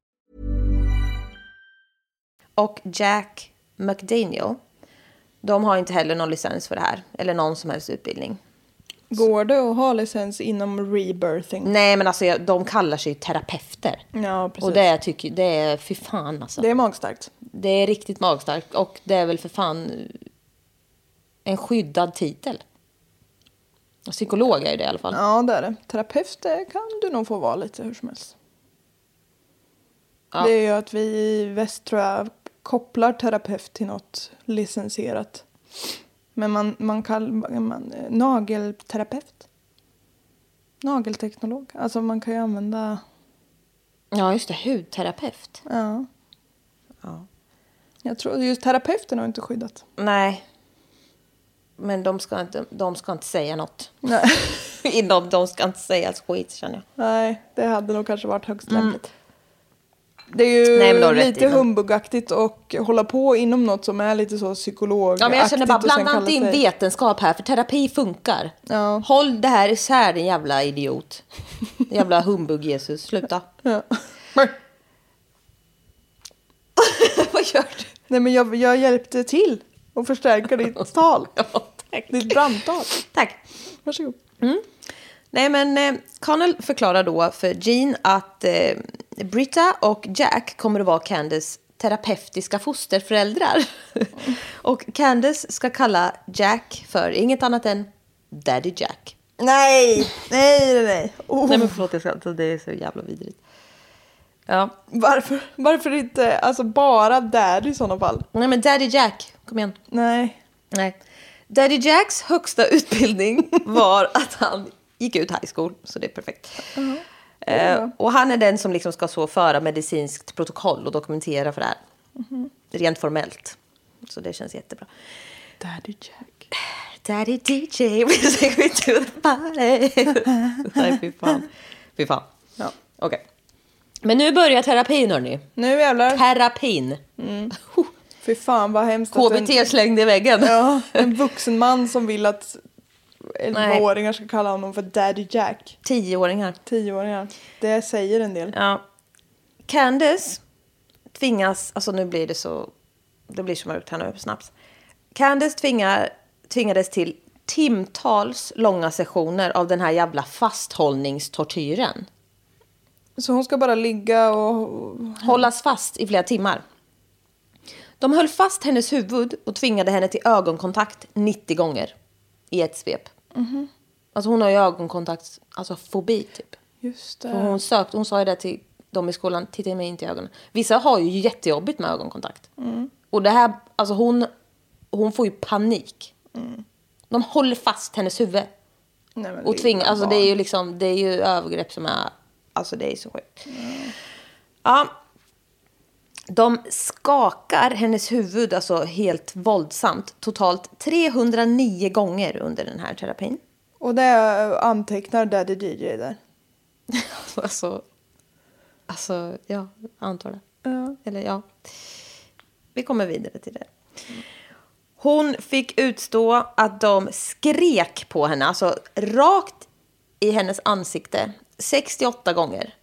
Och Jack McDaniel, de har inte heller någon licens för det här. Eller någon som helst utbildning.
Går det att ha licens inom rebirthing?
Nej, men alltså jag- de kallar sig ju terapeuter.
Ja, precis.
Och det tycker det är, fy fan alltså.
Det
Det...
är magstarkt.
är riktigt magstarkt och det är väl för fan en skyddad titel. Psykolog är ju det i alla fall.
Ja, det är det. Terapeut det kan du nog få vara lite hur som helst.
Ja.
Det är ju att vi i väst tror jag kopplar terapeut till något licensierat. Men man, man kallar man, eh, nagelterapeut. Nagelteknolog. Alltså man kan ju använda,
Ja, just det. Hudterapeut.
ja. Jag tror just terapeuten har inte skyddat.
Nej. Men de ska inte, de ska inte säga något.
Nej.
Inom de ska inte säga ett skit känner jag.
Nej, det hade nog kanske varit högst lämpligt. Det är ju
Mm. Nej, men du har rätt
lite
i, men-
humbugaktigt och hålla på inom något som är lite så psykologaktigt.
Ja, men jag känner bara,
och sen
blanda
kalla
inte in
sig-
vetenskap här, för terapi funkar.
Ja.
Håll det här isär, din jävla idiot. jävla humbug-Jesus, sluta.
Ja.
Vad gör du?
Nej, men jag, jag hjälpte till att förstärka ditt tal.
Ja, tack.
Ditt brandtal.
Tack.
Varsågod.
Nej, men eh, Connell förklarar då för Jean att eh, Britta och Jack kommer att vara Candace terapeutiska fosterföräldrar. och Candace ska kalla Jack för inget annat än Daddy Jack.
Nej, nej, nej. nej. Oh.
Nej, men förlåt, jag ska, alltså, det är så jävla vidrigt. Ja.
Varför, varför inte alltså bara där i sådana fall?
Nej, men Daddy Jack, kom igen.
Nej.
Nej. Daddy Jacks högsta utbildning var att han gick ut high school, så det är perfekt. Eh, och han är den som liksom ska så föra medicinskt protokoll och dokumentera för det här.
Mhm.
Rent formellt. Så det känns jättebra.
Daddy Jack.
Daddy DJ, we take me to the party. Nej, fy fan. Fy fan.
Ja.
Okej. Men nu börjar terapin, hörni.
Nu jävlar.
Terapin.
Fy fan vad hemskt. Mm. att en-
KBT slängde i väggen.
Ja, en vuxen man som vill att
Nej.
11-åringar ska kalla honom för Daddy Jack.
Tioåringar.
10-åringar. Det säger en del.
Ja. Candace tvingas, alltså nu blir det så, det blir så mörkt här nu snabbt. Candace tvingar, tvingades till timtals långa sessioner av den här jävla fasthållningstortyren.
Så hon ska bara ligga och...
Hållas fast i flera timmar. De höll fast hennes huvud och tvingade henne till ögonkontakt 90 gånger i ett svep. Alltså hon har ju ögonkontakt, alltså fobi typ.
Just
För hon, sökte, hon sa ju det till dem i skolan, titta mig inte i ögonen. Vissa har ju jättejobbigt med ögonkontakt.
Mm.
Och det här, alltså hon, hon får ju panik. De håller fast hennes huvud.
Nej, Mm. men
Och
det är
tvingar,
bara
alltså det är ju liksom, det är ju övergrepp som är, alltså det är så sjukt.
Mm.
Ja. De skakar hennes huvud, alltså helt våldsamt, totalt 309 gånger under den här terapin.
barn. Och det antecknar Daddy DJ där.
Alltså, alltså ja, jag antar det.
Ja.
Eller ja. Vi kommer vidare till det. Hon fick utstå att de skrek på henne, alltså rakt i hennes ansikte, 68 gånger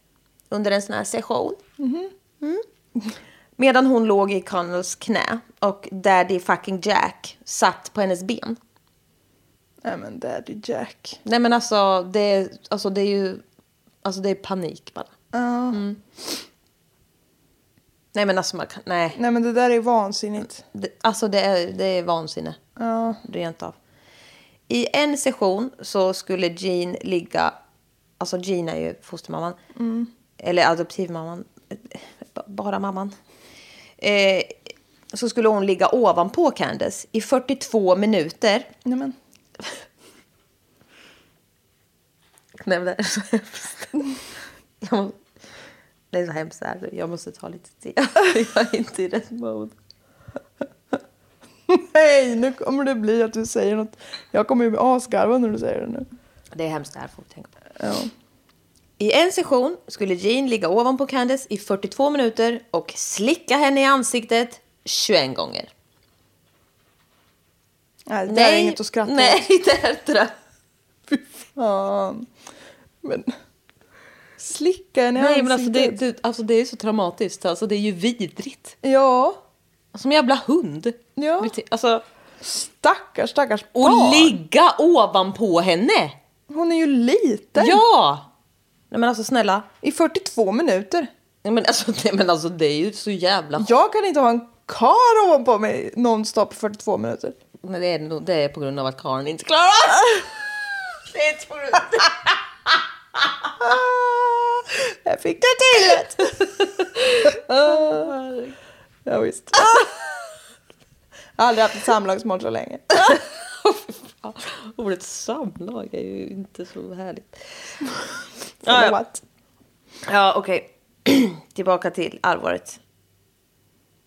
under en sån här session. Mm. Medan hon låg i Connells knä och Daddy fucking Jack satt på hennes ben.
Nej men Daddy Jack.
Nej men alltså det, alltså, det är ju alltså, det är panik bara. Mm.
Ja.
Nej men alltså man kan, nej.
Nej men det där är vansinnigt.
Det, alltså det är, det är vansinne.
Ja.
Rent av. I en session så skulle Jean ligga... Alltså Jean är ju fostermamman.
Mm.
Eller adoptivmamman. B- Bara mamman. Eh, så skulle hon ligga ovanpå Candace i 42 minuter.
Nej men.
Nej, men det är så hemskt. Jag må- Det är så hemskt här. Jag måste ta lite te. Jag är inte i rätt mode.
Nej, nu kommer det bli att du säger något. Jag kommer ju bli asgarvad när du säger det nu.
Det är hemskt det här folk tänker på. I en session skulle Jean ligga ovanpå Candace i 42 minuter och slicka henne i ansiktet 21 gånger.
Nej, det där är inget att skratta åt.
Nej, det är inte det.
Fan. Men... Slicka en i
Nej, men alltså
ansiktet.
det, det, alltså det är så traumatiskt. Alltså det är ju vidrigt.
Ja,
Som en jävla hund.
Ja.
Alltså,
stackars, stackars
och
barn.
ligga ovanpå henne!
Hon är ju liten.
Ja! Nej men alltså snälla.
I 42 minuter.
Nej men alltså, nej, men alltså det är ju så jävla...
Jag kan inte ha en kar ovanpå mig nonstop i 42 minuter.
Nej, det, är, nog- det är på grund av att karln inte klarar det. är inte på grund av...
Ah, Jag fick det till det! ja, visst. Jag har aldrig haft ett samlagsmål så länge.
Ah, Ordet samlag är ju inte så härligt.
Ah,
ja. Ja, okej. Tillbaka till allvaret.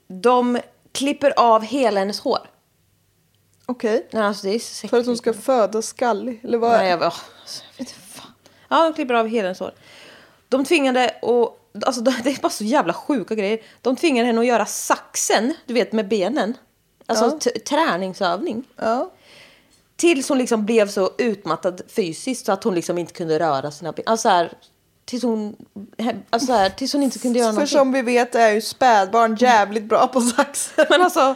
De klipper av hela hennes hår.
Okej.
Nej, alltså det är så
För att hon ska föda skallig, eller vad?
Nej, jag, åh, alltså, jag vet inte fan. Ja, de klipper av hela hennes hår. De tvingade och Alltså det är bara så jävla sjuka grejer. De tvingade henne att göra saxen, du vet med benen. Alltså t- träningsövning.
Ja.
Tills hon liksom blev så utmattad fysiskt så att hon liksom inte kunde röra sina ben. Alltså så här, tills hon... Alltså så här, tills hon inte kunde göra
För
någonting.
som vi vet är ju spädbarn jävligt bra på saxen.
Men alltså...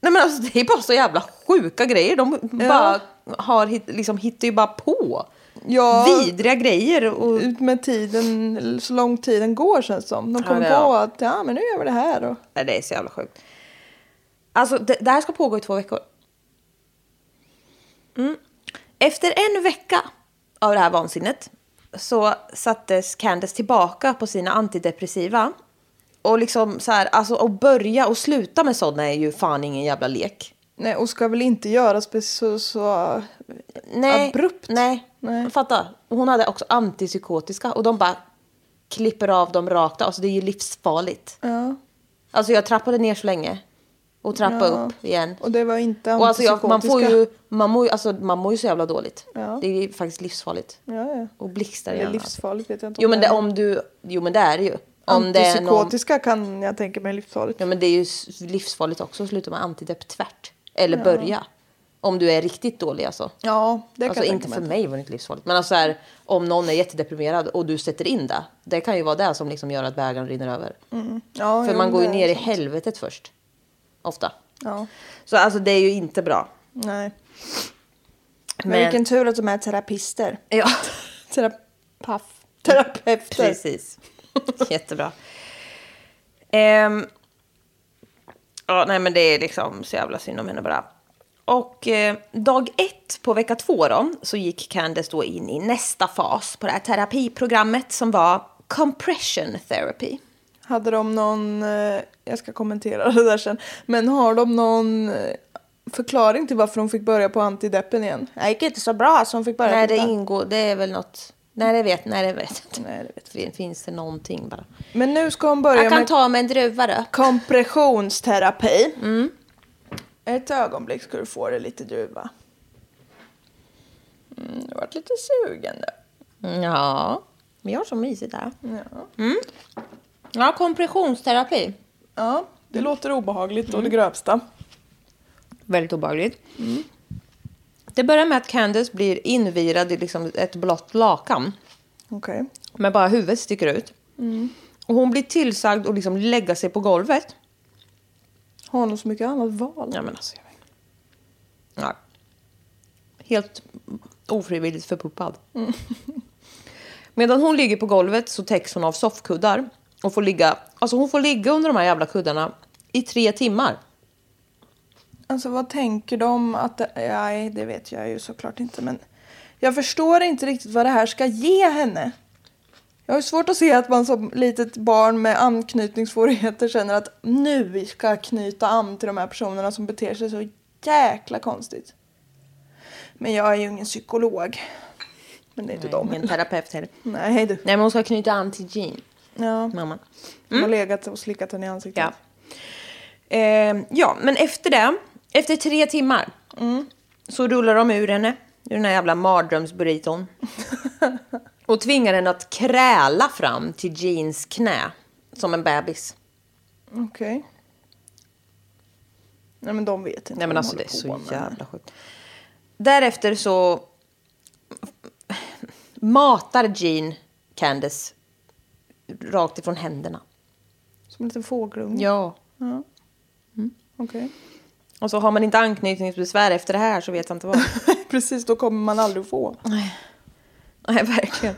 Nej men alltså det är bara så jävla sjuka grejer. De bara har, hit- liksom, hittar ju bara på.
Ja.
Vidriga grejer. Och,
Ut med tiden, eller så lång tiden går känns det som. De kom
det är-
på att ja, men nu gör vi det här. Och...
nej, det är så jävla sjukt. Alltså det, det här ska pågå i två veckor. Mm. Efter en vecka av det här vansinnet så sattes Candace tillbaka på sina antidepressiva. Och liksom så här, alltså att börja och sluta med sådana är ju fan ingen jävla lek.
Nej, och ska väl inte göras precis så, så...
Nej.
Abrupt.
Nej.
Nej.
Fatta. Hon hade också antipsykotiska och de bara klipper av dem rakt av. Alltså det är ju livsfarligt.
Ja.
Alltså jag trappade ner så länge och trappade
Ja.
upp igen.
Och det var inte
Och alltså jag, man får ju,
antipsykotiska.
man mår ju, alltså man mår ju så jävla dåligt.
Ja.
Det är ju faktiskt livsfarligt.
Ja, ja.
Och blixtar i
Det är
hjärnan.
livsfarligt vet jag inte
Jo men det,
är.
om du, jo men det är det ju. Om det är någon,
Antipsykotiska kan jag tänka mig är livsfarligt.
ja men det är ju s- livsfarligt också att sluta med antidepp tvärt. Eller börja. Om du är riktigt dålig alltså.
Ja, det
Alltså
kan jag
inte
tänka
för
mig.
mig var det inte livsfarligt. Men alltså så här, om någon är jättedeprimerad och du sätter in det. Det kan ju vara det som liksom gör att bägaren rinner över.
Mm. Ja,
för
jo,
man
men
går ju
det är
ner i
sant.
helvetet först. Ofta.
Ja,
Så alltså det är ju inte bra.
nej. Men,
Men-
vilken tur att de är terapister.
Ja,
Terapaf. Terapeuter.
precis. Jättebra. Ehm, ja, nej men det är liksom så jävla synd om henne bara. Och eh, dag ett på vecka två då, så gick Candace då in i nästa fas på det här terapiprogrammet som var compression therapy.
Hade de någon, eh, jag ska kommentera det där sen, men har de någon eh, förklaring till varför de fick börja på antideppen igen? Det gick inte så bra så de fick börja
Nej,
på
det
det.
ingår. Det är väl något. Nej, det vet, nej, det vet jag inte.
Nej, det vet
Fin- Finns det någonting bara?
Men nu ska hon börja
Jag kan
med
ta med en druva då.
kompressionsterapi. Ett ögonblick ska du få dig lite druva. Mm, jag varit lite sugen nu.
Ja, men jag har så mysigt där. Ja. Mm. ja, kompressionsterapi.
Ja, det låter obehagligt och det grövsta.
Väldigt obehagligt. Det börjar med att Candace blir invirad i liksom ett blått lakan.
Okej.
Men bara huvudet sticker ut. Mm. Och hon blir tillsagd att liksom lägga sig på golvet.
Har hon så mycket annat val?
Ja, men alltså, jag vet. Ja. Helt ofrivilligt förpuppad. Mm. Medan hon ligger på golvet så täcks hon av soffkuddar. Och får ligga, alltså hon får ligga under de här jävla kuddarna i tre timmar.
Alltså vad tänker de att det, nej, det vet jag ju såklart inte men jag förstår inte riktigt vad det här ska ge henne. Jag har ju svårt att se att man som litet barn med anknytningssvårigheter känner att nu vi ska knyta an till de här personerna som beter sig så jäkla konstigt. Men jag är ju ingen psykolog. Men det är inte
Nej,
de.
Ingen terapeut heller.
Nej du.
Nej men hon ska knyta an till Jean. Ja. Mamman.
De har legat och slickat henne i ansiktet.
Mm. Ja. Eh, ja, men efter det, efter tre timmar, mm, så rullar de ur henne ur den här jävla mardrömsburriton. och tvingar henne att kräla fram till Jeans knä, som en bebis.
Okej. Nej men de vet inte
Nej
vad
men
de
alltså det
håller
är
på
så
med.
jävla sjukt. Därefter så matar Jean Candace rakt ifrån händerna.
Som en liten fågelunge.
Ja.
Okej.
Och så har man inte anknytningsbesvär efter det här så vet jag inte vad.
Precis, då kommer man aldrig få.
Nej, verkligen.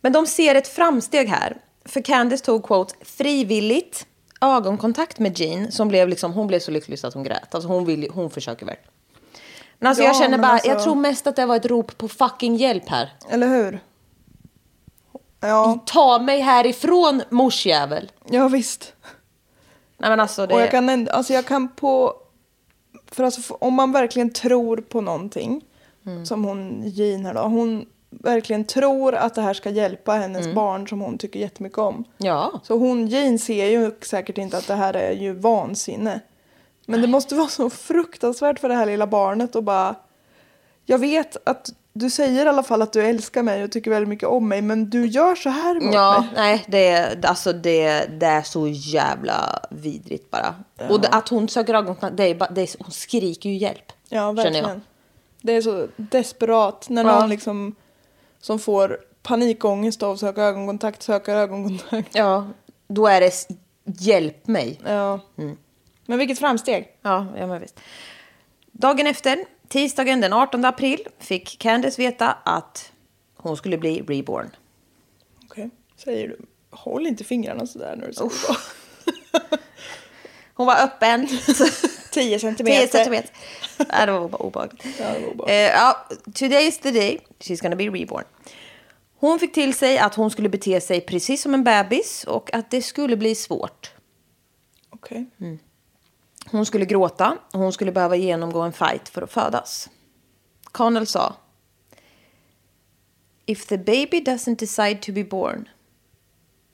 Men de ser ett framsteg här. För Candice tog, quote, frivilligt ögonkontakt med Jean som blev liksom, hon blev så lycklig så att hon grät. Alltså hon, vill, hon försöker verkligen. Men alltså
Ja,
jag känner
men
bara,
alltså-
jag tror mest att det var ett rop på fucking hjälp här.
Eller hur? Ja,
Ta mig härifrån morsjävel.
ja visst.
Nej men alltså det...
Och jag kan, änd- alltså jag kan på... För alltså, f- om man verkligen tror på någonting,
Mm.
som hon Jean här då, hon verkligen tror att det här ska hjälpa hennes barn som hon tycker jättemycket om.
Mm. Ja.
Så hon Jean ser ju säkert inte att det här är ju vansinne. Men det måste vara så fruktansvärt för det här lilla barnet och bara... Jag vet att du säger i alla fall att du älskar mig och tycker väldigt mycket om mig men du gör så här mot
Ja,
mig.
nej, det, är- alltså det, det är så jävla vidrigt bara. Och det, att hon söker ögonkontakt, det är bara, det är, hon skriker ju hjälp.
Ja,
känner jag.
verkligen. Det är så desperat när
Ja.
någon liksom som får panikångest av att söka ögonkontakt söker ögonkontakt.
Ja, då är det s- hjälp mig.
Ja. Men vilket framsteg.
Ja, ja men visst. Dagen efter, tisdagen den 18 april, fick Candice veta att hon skulle bli reborn.
Okej, säger du. Håll inte fingrarna sådär när du säger så.
Hon var öppen.
10 centimeter.
10 centimeter. Nej, det var bara obehagligt.
Ja, det var obehagligt.
Eh, ja, today is the day she's gonna be reborn. Hon fick till sig att hon skulle bete sig precis som en bebis och att det skulle bli svårt.
Okej.
Hon skulle gråta och hon skulle behöva genomgå en fight för att födas. Connell sa. If the baby doesn't decide to be born,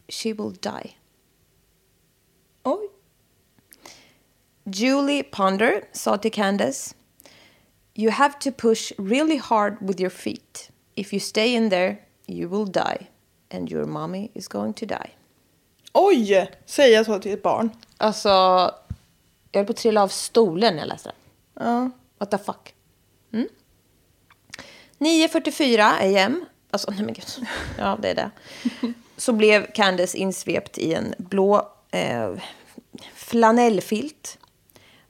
she will die.
Oj.
Julie Ponder sa till Candace. You have to push really hard with your feet. If you stay in there, you will die. And your mommy is going to die.
Oj! Säga så till ett barn.
Alltså, jag höll på att trilla av stolen när jag läste det.
Ja.
What the fuck? Mm. 9.44 am, alltså nej men gud, ja det är det. Så blev Candace insvept i en blå eh, flanellfilt.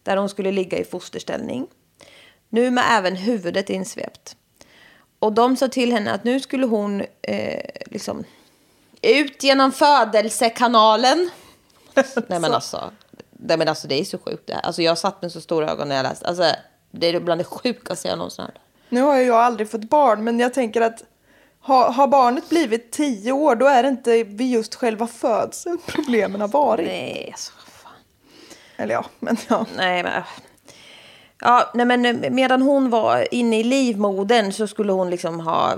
Där hon skulle ligga i fosterställning. Nu med även huvudet insvept. Och de sa till henne att nu skulle hon eh, liksom ut genom födelsekanalen. Nej men alltså, nej, men alltså det är så sjukt det här. Alltså jag satt med så stora ögon när jag läste. Alltså det är bland det sjukaste jag någonsin hört.
Nu har ju jag aldrig fått barn men jag tänker att ha, har barnet blivit 10 år då är det inte vid just själva födseln problemen har varit.
Nej, alltså vad fan.
Eller ja, men ja.
Nej men... äh. Ja, nej men eh, medan hon var inne i livmodern så skulle hon liksom ha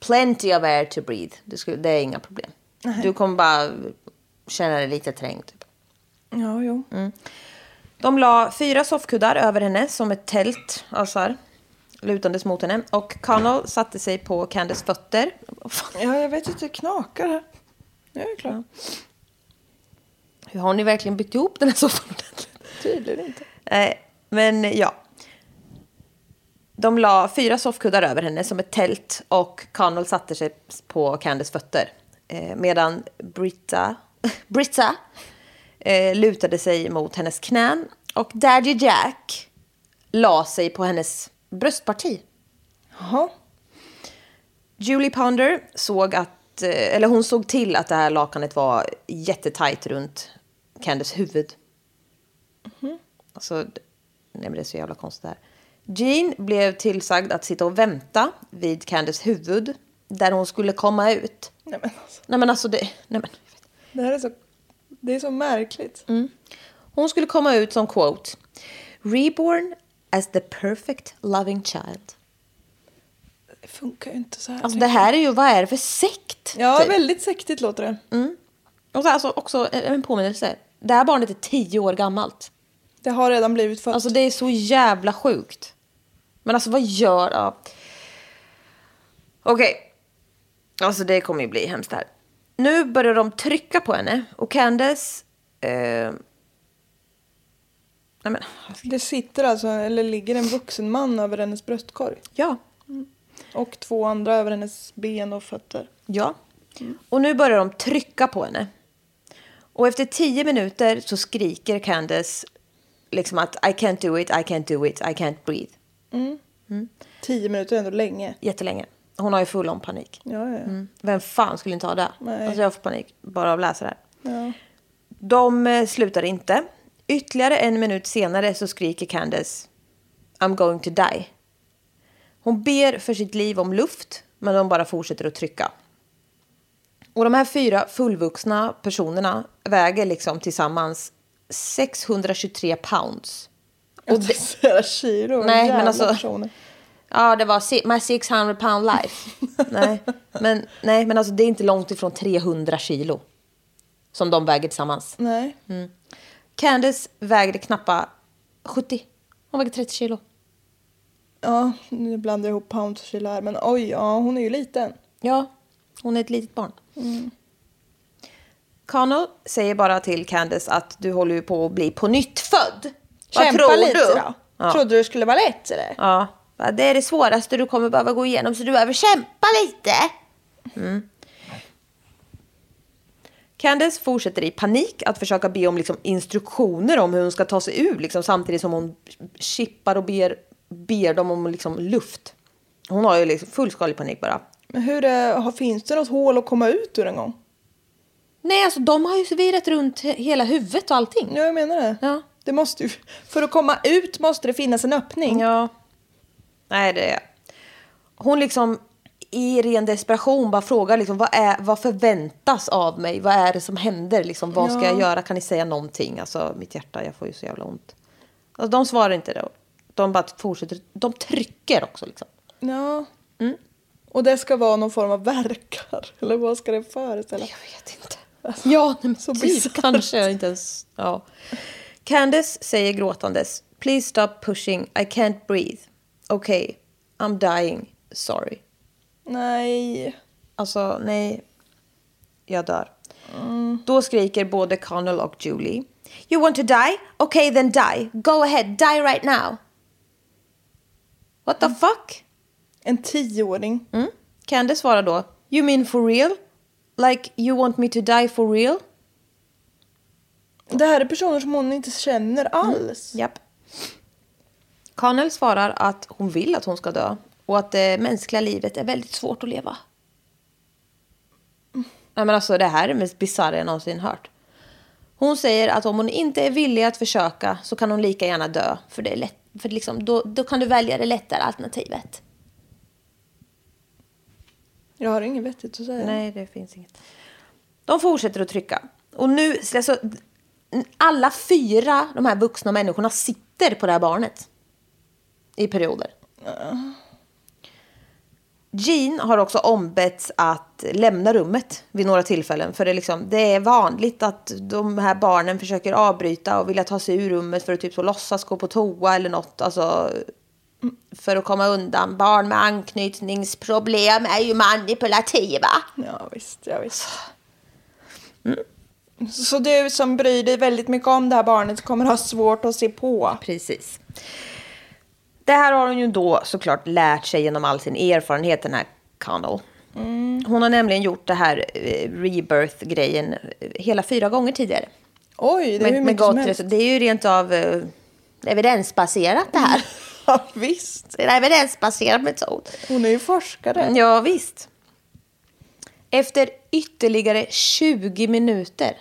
plenty of air to breathe. Det, skulle, det är inga problem. Du kommer bara känna dig lite trängd. Typ.
Ja, jo.
De la fyra soffkuddar över henne som ett tält, alltså här, lutandes mot henne. Och Connell satte sig på Candace fötter. Vad fan,
Ja, jag vet inte, det knakar här. Nu är det klart.
Hur har ni verkligen byggt ihop den här soffan ordentligt?
Tydligen inte.
Nej, men ja. De la fyra soffkuddar över henne som ett tält och Connell satte sig på Candace fötter. Eh, medan Britta, Britta eh, lutade sig mot hennes knän och Daddy Jack la sig på hennes bröstparti.
Jaha.
Julie Ponder såg att, eh, eller hon såg till att det här lakanet var jättetajt runt Candace huvud.
Mhm.
Alltså, d- nej men det är så jävla konstigt det här. Jean blev tillsagd att sitta och vänta vid Candace huvud där hon skulle komma ut.
Nej men alltså,
Nej men alltså det, nej men.
det här är så, det är så märkligt.
Hon skulle komma ut som quote. Reborn as the perfect loving child.
Det funkar ju inte så här.
Alltså det här är ju, vad är det för sekt?
Ja,
typ?
väldigt sektigt låter det.
Och så, alltså, också en påminnelse. Det här barnet är tio år gammalt.
Det har redan blivit fött.
Alltså det är så jävla sjukt. Men alltså vad gör... Ja. Okej. Alltså det kommer ju bli hemskt här. Nu börjar de trycka på henne och Candace... Eh, nej men,
Det sitter alltså, eller ligger en vuxen man över hennes bröstkorg.
ja.
Och två andra över hennes ben och fötter.
Ja. Och nu börjar de trycka på henne. Och efter tio minuter så skriker Candace liksom att I can't do it, I can't do it, I can't breathe.
Tio minuter är ändå länge.
Jättelänge. Hon har ju full om panik.
Ja, ja. ja.
Vem fan skulle inte ha det?
Nej.
Alltså jag får panik bara av att läsa det här.
ja.
De eh, slutar inte. Ytterligare en minut senare så skriker Candace I'm going to die. Hon ber för sitt liv om luft, men de bara fortsätter att trycka. Och de här fyra fullvuxna personerna väger liksom tillsammans 623 pounds.
Och det... Flera kilo.
Nej,
jävla
men alltså-
Personer.
Ja, det var si- my 600 pound life. nej, men, nej, men alltså det är inte långt ifrån 300 kilo som de väger tillsammans.
Nej.
Candice vägde knappa 70. Hon vägde 30 kilo.
Ja, nu blandar jag ihop pound och kilo här. Men oj, ja, hon är ju liten.
Ja, hon är ett litet barn. Mm. Kano säger bara till Candice att du håller ju på att bli på nytt född.
Kämpa lite då.
Ja.
Trodde du det skulle vara lätt eller?
ja. Va, Det är det svåraste du kommer behöva gå igenom så du behöver kämpa lite. Mm. Candice fortsätter i panik att försöka be om liksom, instruktioner om hur hon ska ta sig ur liksom, samtidigt som hon chippar och ber, ber dem om liksom, luft. Hon har ju liksom, fullskalig panik bara.
Men hur är, har- finns det något hål att komma ut ur en gång?
Nej, alltså de har ju virat runt he- hela huvudet och allting.
Ja, jag menar det.
Ja.
det måste ju, för att komma ut måste det finnas en öppning.
Ja. Nej, det är... Hon liksom i ren desperation bara frågar liksom, vad, är, vad förväntas av mig? Vad är det som händer? Liksom, vad ska jag göra? Kan ni säga någonting? Alltså mitt hjärta, jag får ju så jävla ont. Alltså, de svarar inte då. De bara fortsätter. De trycker också liksom.
Ja.
Mm.
Och det ska vara någon form av verkar. Eller vad ska det föreställa?
Jag vet inte. Ja, nej, men
så
typ
bisarrt.
kanske. jag Inte ens, ja. Candace säger gråtandes. Please stop pushing. I can't breathe. Okay, I'm dying. Sorry.
Nej.
Alltså, nej. Jag dör. Då skriker både Connell och Julie. You want to die? Okay, then die. Go ahead, die right now. What the fuck?
En tioåring.
Mm. Candace svarar då. You mean for real? Like you want me to die for real?
Det här är personer som hon inte känner
Mm.
alls.
Japp. Connell svarar att hon vill att hon ska dö och att det mänskliga livet är väldigt svårt att leva. Nej, men alltså, det här är det mest bisarra jag någonsin hört. Hon säger att om hon inte är villig att försöka så kan hon lika gärna dö. För, det är lätt, för liksom, då, då kan du välja det lättare alternativet.
Jag har inget vettigt att säga.
Nej, det finns inget. De fortsätter att trycka. Och nu, alltså, alla fyra de här vuxna människorna sitter på det här barnet. I perioder. Jean har också ombetts att lämna rummet vid några tillfällen. För det, är liksom, det är vanligt att de här barnen försöker avbryta och vilja ta sig ur rummet för att typ så låtsas gå på toa eller något. Alltså, för att komma undan. Barn med anknytningsproblem är ju manipulativa.
Ja, visst. Ja, visst. Mm. Så du som bryr dig väldigt mycket om det här barnet kommer ha svårt att se på.
Precis. Det här har hon ju då såklart lärt sig genom all sin erfarenhet, den här Connell.
Mm.
Hon har nämligen gjort det här eh, rebirth-grejen eh, hela fyra gånger tidigare.
Oj, det är hur mycket
gott
som helst.
resu- det är ju rent av eh, evidensbaserat det
Mm.
här.
Ja, visst.
Det är en evidensbaserad metod.
Hon är ju forskare.
Ja, visst. Efter ytterligare 20 minuter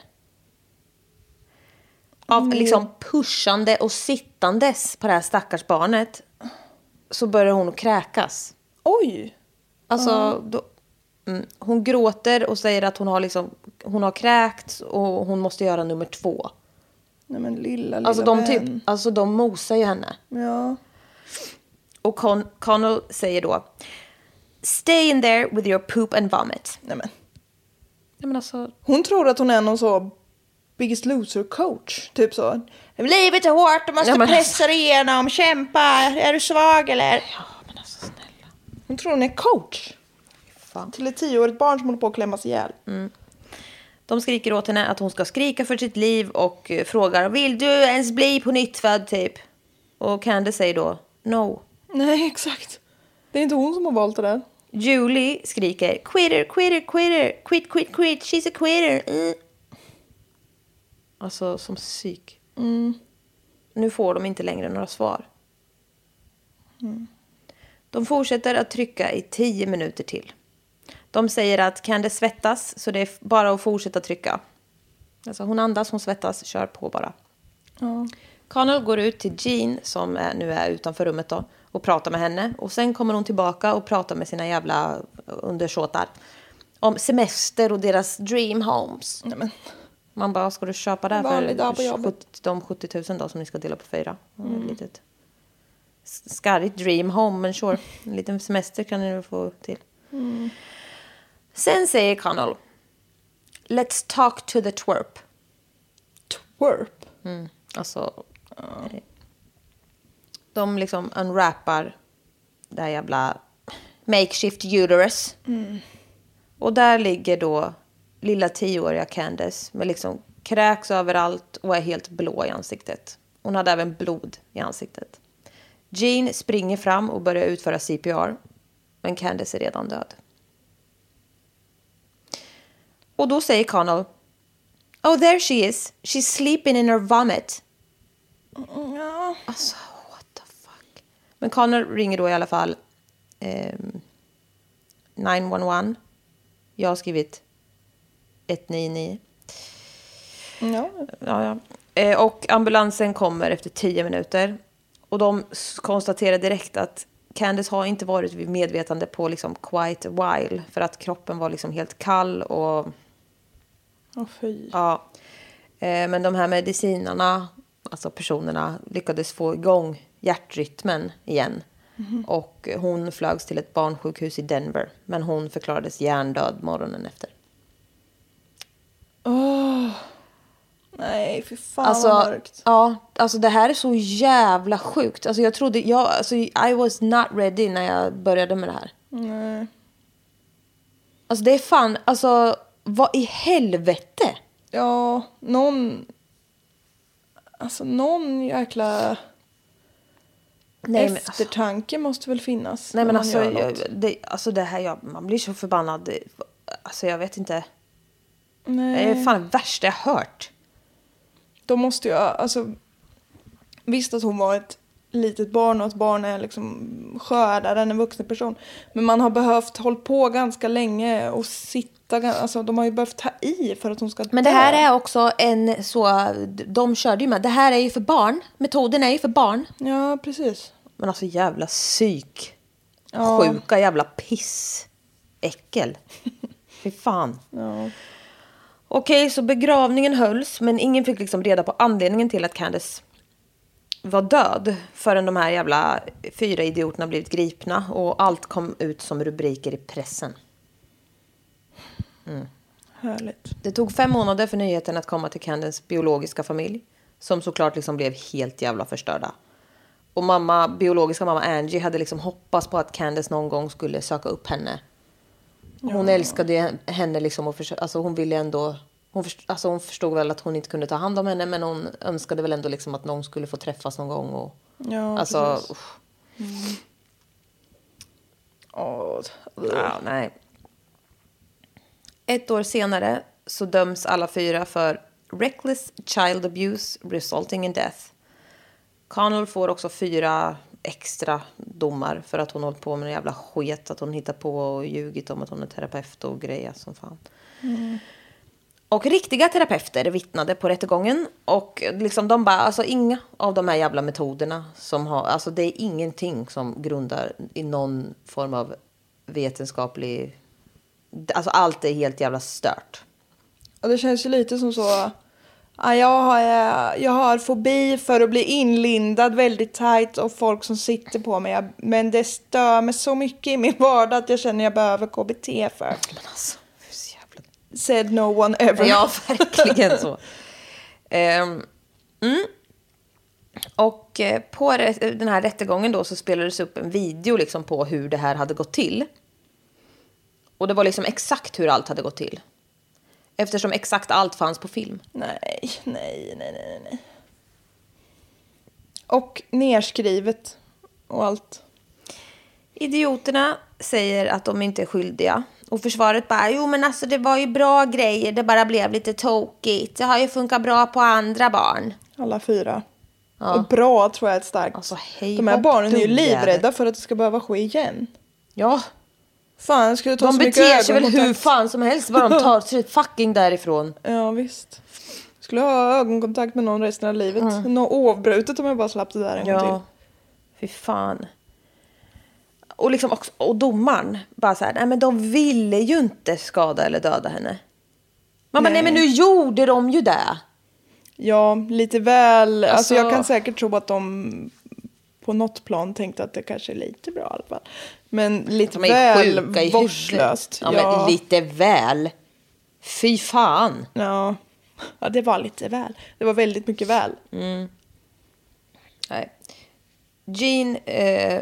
av liksom pushande och sittandes på det här stackars barnet så börjar hon att kräkas.
Oj!
Alltså, då, mm, hon gråter och säger att hon har, liksom, hon har kräkts och hon måste göra nummer två.
Nej men lilla, lilla
Alltså de,
vän.
typ, alltså de mosar ju henne.
Ja.
Och Con- Connell säger då Stay in there with your poop and vomit.
Nej, men.
Nej men alltså.
Hon tror att hon är någon så Biggest Loser-coach. Typ så. Livet är hårt, du måste
Ja, men- alltså-
pressa dig igenom, kämpa, är du svag eller?
Ja men alltså snälla.
Hon tror hon är coach. Till ett tioårigt barn som håller på att klämmas ihjäl.
Mm. De skriker åt henne att hon ska skrika för sitt liv och eh, frågar vill du ens bli på nytt född typ? Och Candace säger då no.
Nej, exakt. Det är inte hon som har valt det där.
Julie skriker quitter, quitter, quitter, quit, quit, quit, she's a quitter. Mm. Alltså som psyk. Mm. Nu får de inte längre några svar. Mm. De fortsätter att trycka i tio minuter till. De säger att kan det svettas så det är bara att fortsätta trycka. Alltså hon andas, hon svettas, kör på bara. Connell går ut till Jean som är, nu är utanför rummet då och pratar med henne. Och sen kommer hon tillbaka och pratar med sina jävla eh, undersåtar. Om semester och deras dream homes.
Nej, men.
Man bara, ska du köpa det här
En vanlig dag på
för
jobbet.
70, de 70 000 då som ni ska dela på fyra? Mm. Ett litet s- skarrigt dream home, men sure. En liten semester kan ni nog få till.
Mm.
Sen säger Connell, let's talk to the twerp.
Twerp.
Alltså, de liksom unwrappar det här jävla makeshift uterus. Och där ligger då lilla tioåriga Candace med liksom kräks överallt och är helt blå i ansiktet. Hon hade även blod i ansiktet. Jean springer fram och börjar utföra CPR. Men Candace är redan död. Och då säger Connell. Oh there she is. She's sleeping in her vomit.
Ja.
Alltså, what the fuck. Men Connor ringer då i alla fall ehm, 911. Jag har skrivit 199.
ja.
Ja, ja. Eh, och ambulansen kommer efter 10 minuter. Och de s- konstaterar direkt att Candice har inte varit vid medvetande på liksom quite a while. För att kroppen var liksom helt kall och
Åh, fy.
Ja. Eh, Men de här medicinarna, alltså personerna, lyckades få igång hjärtrytmen igen.
Mhm.
Och hon flögs till ett barnsjukhus i Denver. Men hon förklarades hjärndöd morgonen efter.
Nej, fy fan
alltså,
vad mörkt.
Ja, alltså det här är så jävla sjukt. Alltså jag trodde, jag, alltså I was not ready när jag började med det här.
Nej.
Alltså det är fan, alltså vad i helvete?
Ja, någon... Alltså någon jäkla
Nej, men, alltså,
eftertanke måste väl finnas.
nej
när
men
man
alltså,
gör något.
jag, det, alltså det här, jag, man blir så förbannad. Det- Alltså jag vet inte. Det
Nej.
är fan det värsta jag hört.
Då måste jag, alltså... Visst att hon var ett litet barn och att barn är liksom skördare än en vuxen person. Men man har behövt hålla på ganska länge och sitta, gan- alltså de har ju behövt ta i för att hon ska
Men det här är också en så, de körde ju med, det här är ju för barn, metoden är ju för barn.
Ja, precis.
Men alltså jävla psyk.
Ja.
Sjuka jävla piss. Äckel. Fy fan.
Ja.
Okej, så begravningen hölls, men ingen fick liksom reda på anledningen till att Candace var död förrän de här jävla fyra idioterna blivit gripna och allt kom ut som rubriker i pressen.
Härligt.
Det tog fem månader för nyheten att komma till Candens biologiska familj. Som såklart liksom blev helt jävla förstörda. Och mamma, biologiska mamma Angie hade liksom hoppats på att Candace någon gång skulle söka upp henne. Hon älskade ju henne liksom och försö- alltså hon ville ändå... Hon, först- alltså hon förstod väl att hon inte kunde ta hand om henne men hon önskade väl ändå liksom att någon skulle få träffas någon gång. Och,
Ja,
alltså,
precis.
usch,
Åh,
ja, nej. Ett år senare så döms alla fyra för reckless child abuse resulting in death. Connell får också fyra extra domar för att hon hållit på med en jävla sket. Att hon hittar på och ljugit om att hon är terapeut och grejer som fan. Och riktiga terapeuter vittnade på rättegången. Och liksom de bara, alltså inga av de här jävla metoderna som har, alltså det är ingenting som grundar i någon form av vetenskaplig, alltså allt är helt jävla stört.
Ja, det känns ju lite som så Ja, jag, har, eh, jag har fobi för att bli inlindad väldigt tajt och folk som sitter på mig. Jag- Men det stör mig så mycket i min vardag att jag känner jag behöver KBT för.
alltså,
Said no one ever.
Ja, verkligen så. Ehm, mm. Och eh, på re- den här rättegången då så spelades upp en video liksom på hur det här hade gått till. Och det var liksom exakt hur allt hade gått till. Eftersom exakt allt fanns på film.
Nej, nej, nej, nej, nej. Och nerskrivet och allt.
Idioterna säger att de inte är skyldiga. Och försvaret bara, jo men alltså det var ju bra grejer, det bara blev lite tokigt. Det har ju funkat bra på andra barn.
Alla fyra. Och bra tror jag är ett starkt.
Alltså, hej
De här
hopp,
barnen är ju
dumjävel.
livrädda för att det ska behöva ske igen.
Ja,
Fan, jag skulle ta
de
så mycket
beter sig väl hur
ögonkontakt.
fan som helst bara de tar sig fucking därifrån.
Ja, visst. Skulle ha ögonkontakt med någon resten av livet. Något oavbrutet om jag bara slapp det där en gång
Ja,
till.
Typ. fy fan. Och, liksom också, och domaren bara så här, nej men de ville ju inte skada eller döda henne. Man bara, nej men nu gjorde de ju det.
Ja, lite väl. Alltså,
Alltså-
jag kan säkert tro att de på något plan tänkte att det kanske är lite bra i alla fall. Men lite
De är
väl
sjuka i
vårdslöst.
huvudet. Ja, men lite väl. Fy fan.
ja. ja, det var lite väl. Det var väldigt mycket väl.
Mm. Nej. Jean eh,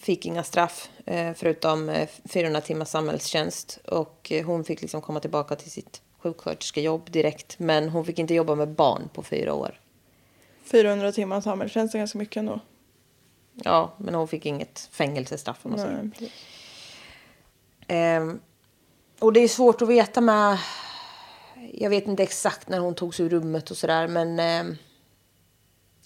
fick inga straff eh, förutom eh, 400 timmars samhällstjänst och eh, hon fick liksom komma tillbaka till sitt sjuksköterskejobb direkt. Men hon fick inte jobba med barn på fyra år.
400 timmar samhällstjänst är ganska mycket ändå.
Ja, men hon fick inget fängelsestraff om man säger.
Nej.
Ehm, och det är svårt att veta med... Jag vet inte exakt när hon togs ur rummet och sådär, men... ehm,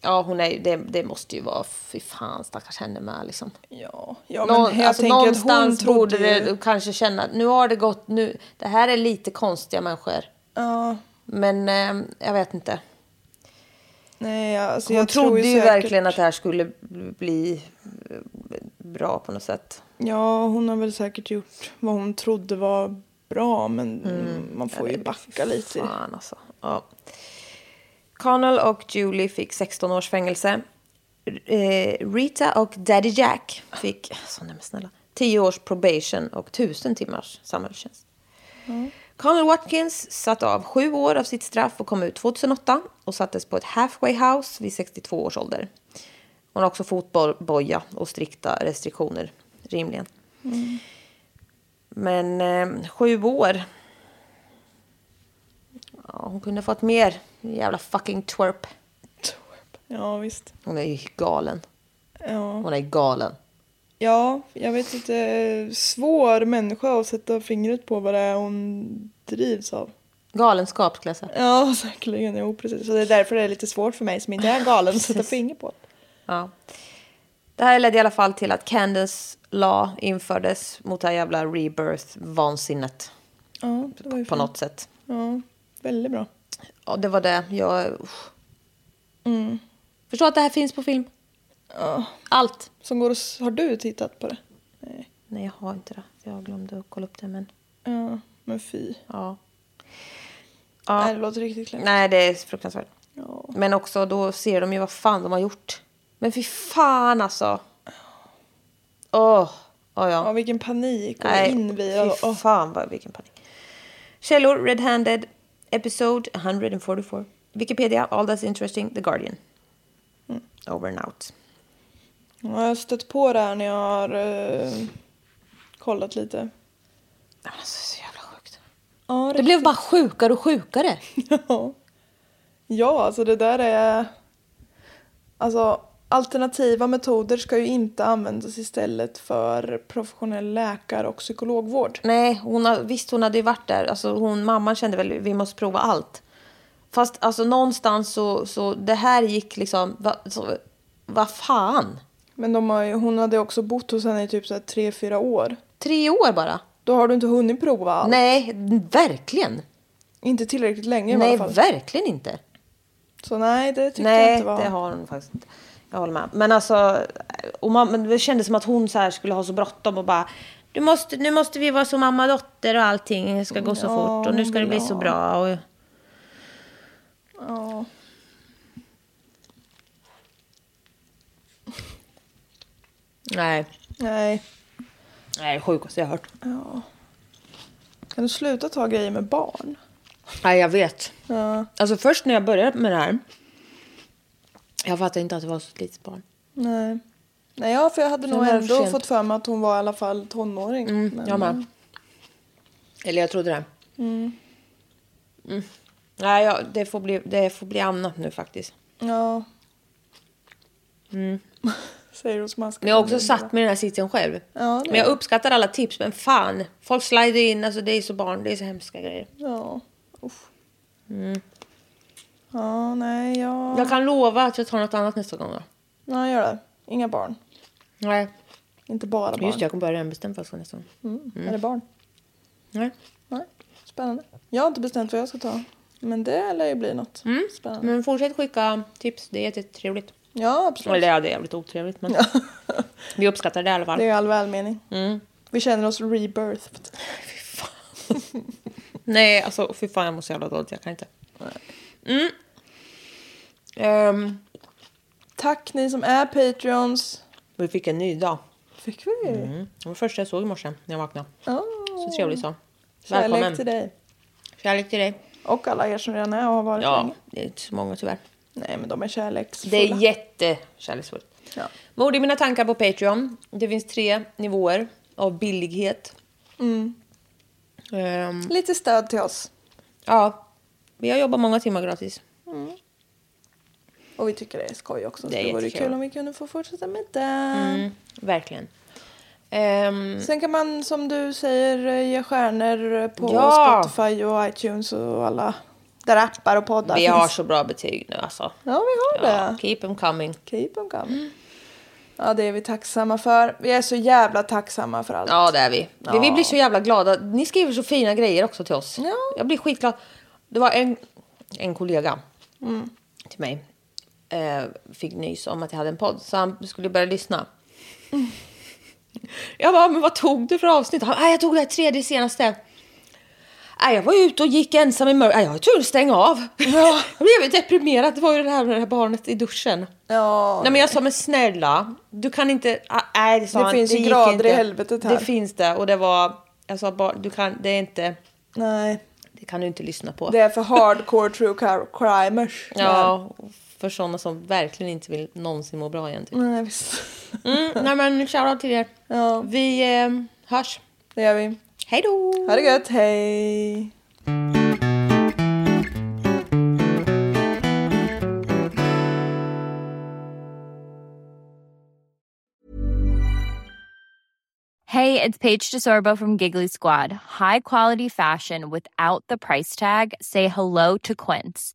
ja, hon är, ju- det, det måste ju vara... Fy fan, stackars henne med liksom.
Ja, ja men
Någon,
jag
alltså,
tänker att hon
någonstans
trodde
borde
ju...
det kanske känna att nu har det gått... Nu, det här är lite konstiga människor.
Ja,
Men ehm, jag vet inte.
nej, alltså,
Hon
jag tror
trodde ju
säkert-
verkligen att det här skulle bli eh, bra på något sätt.
Ja, hon har väl säkert gjort vad hon trodde var bra, men
Mm.
man får ju backa lite.
Fan alltså. Ja. Connell och Julie fick 16 års fängelse. R- Eh, Rita och Daddy Jack fick, alltså, nej men snälla, 10 års probation och 1000 timmars samhällstjänst. Connell Watkins satt av sju år av sitt straff och kom ut 2008 och sattes på ett halfway house vid 62 års ålder. Hon har också fotboja och strikta restriktioner, rimligen. Men eh, sju år, Ja, hon kunde fått mer. Jävla fucking twerp.
Ja, visst.
Hon är ju galen.
Ja.
Hon är galen.
ja, jag vet inte. Svår människa att sätta fingret på vad det är hon drivs av.
Galenskap skulle jag säga.
Ja, säkerligen. Jo, precis. Så det är därför det är lite svårt för mig som inte är galen att sätta finger på.
Ja. Det här ledde i alla fall till att Candace Law infördes mot det här jävla rebirth-vansinnet
Ja, det var ju
på
fint.
något sätt.
Ja, väldigt bra.
Ja, det var det. Jag... usch. Förstå att det här finns på film. Allt.
Som går och, s- har du tittat på det? Nej.
Nej, jag har inte det. Jag glömde att kolla upp det, men
Ja, men fy.
ja.
Nej,
ja.
det låter riktigt klart.
Nej, det är fruktansvärt.
Ja.
Men också då ser de ju vad fan de har gjort. Men fy fan alltså. Åh, oh,
ja,
ja.
vilken panik och
Nej,
invirad.
fy
och-
fan vad, vilken panik. Källor, Red Handed, Episode 144. Wikipedia, All That's Interesting, The Guardian.
Mm.
Over and out.
Ja, jag har stött på det här när jag har eh, kollat lite.
Ja, men Alltså, så jävla sjukt.
Ja,
Det blev bara sjukare och sjukare.
Ja. ja, alltså det där är... Alltså, alternativa metoder ska ju inte användas istället för professionell läkar och psykologvård.
Nej, hon har, visst hon hade ju varit där. Alltså, hon, mamman kände väl vi måste prova allt. Fast alltså, någonstans så, så det här gick liksom... va- så- Vad fan?
Men de har ju, hon hade också bott hos henne i typ så här tre, fyra år.
Tre år bara?
Då har du inte hunnit prova allt.
Nej, verkligen.
Inte tillräckligt länge i
Nej,
alla fall.
verkligen inte.
Så nej, det tyckte jag
Nej,
inte var...
det har hon faktiskt inte. Jag håller med. Men alltså, och man, men det kändes som att hon så här skulle ha så bråttom och bara... Du måste, nu måste vi vara som mamma Mm, och dotter och allting ska gå så fort och nu ska det bli så bra. Och, Ja. Nej.
Nej.
Nej, det sjukaste jag har hört.
Ja. Kan du sluta ta grejer med barn?
Nej, jag vet.
Ja.
Alltså först när jag började med det här. Jag fattade inte att det var så ett litet barn.
Nej. Nej, ja, för jag hade nog
var det för
ändå
sent.
fått för mig att hon var i alla fall tonåring.
Mm, jag med. Eller jag trodde det. Mm. Nej, jag, det, får bli, det får bli annat nu faktiskt.
Ja. Säger du smaskar.
Mm. Men jag har också satt mig i den här sitsen själv.
Mm. Ja, det
men jag uppskattar alla tips, men fan. Folk slider in, alltså det är så barn, det är så hemska grejer.
Ja. Usch. Ja, nej, jag...
Mm. Jag kan lova att jag tar något annat nästa gång då.
Nej, gör det. Inga barn.
Nej,
Inte bara barn.
just det, jag kommer börja bestämma för nästa gång.
Mm. Är det barn?
Nej.
Nej. Spännande. Jag har inte bestämt vad jag ska ta. Men det lär ju bli något.
Mm.
Spännande.
Men fortsätt skicka tips, det är jättetrevligt.
Ja, absolut.
Eller ja, det är jävligt otrevligt, men vi uppskattar det i alla fall.
Det är all välmening.
Mm.
Vi känner oss rebirthed.
Nej, alltså fy fan jag mår så jävla dåligt, jag kan inte. Mm. Ehm,
Tack ni som är Patreons.
vi fick en ny dag.
Fick vi? Mm.
Det var det första jag såg i morse när jag vaknade. Så trevlig så.
Kärlek
Välkommen.
till dig.
Kärlek Mm. till Mm. dig.
Och alla er som redan är och har varit
Ja,
länge.
det är inte så många tyvärr.
Nej, men de är kärleksfulla.
Det är jättekärleksfullt.
Ja.
Mord i mina tankar på Patreon. Det finns tre nivåer av billighet. Mm. Ehm,
Lite stöd till oss.
ja, vi har jobbat många timmar gratis.
Och vi tycker det är skoj också.
Det är
så det vore
jättekul. Mm,
kul om vi kunde få fortsätta med det.
Verkligen. Ehm,
Sen kan man som du säger eh, ge stjärnor på
Ja.
Spotify och iTunes och alla där appar och poddar
vi har
finns.
så bra betyg nu alltså.
Ja, vi har
Ja, Mm.
det.
keep them coming.
Keep them coming. Ja, det är vi tacksamma för. Vi är så jävla tacksamma för allt.
Ja, det är vi. Vi, vi blir så jävla glada. Ni skriver så fina grejer också till oss.
Ja.
Jag blir skitglad. Det var en, en kollega Mm. till mig. Eh, fick nys om att jag hade en podd, så han skulle börja lyssna. Jag bara, men vad tog du för avsnitt? Han, "Nej, jag tog det här tredje senaste. Nej, jag var ute och gick ensam i mörkret. Jag tur att stänga av. jag blev ju deprimerad. Det var ju det här med det här barnet i duschen.
Ja.
Nej men jag sa men snälla, du kan inte... ah, Nej det sa
Det
han,
finns ju
gick
grader i helvetet här.
Det finns det och det var... Jag sa bara, du kan, det är inte...
Nej.
Det kan du inte lyssna på.
Det är för hardcore true cri- crimers.
Ja, för sådana som verkligen inte vill någonsin må bra igen. Typ.
Nej, visst.
Mm, nej men shoutout till er.
Ja.
Vi eh, hörs.
Det gör vi.
Hej då!
Ha det gött, hej!
Hey, it's Paige DeSorbo from Giggly Squad. High quality fashion without the price tag. Say hello to Quince.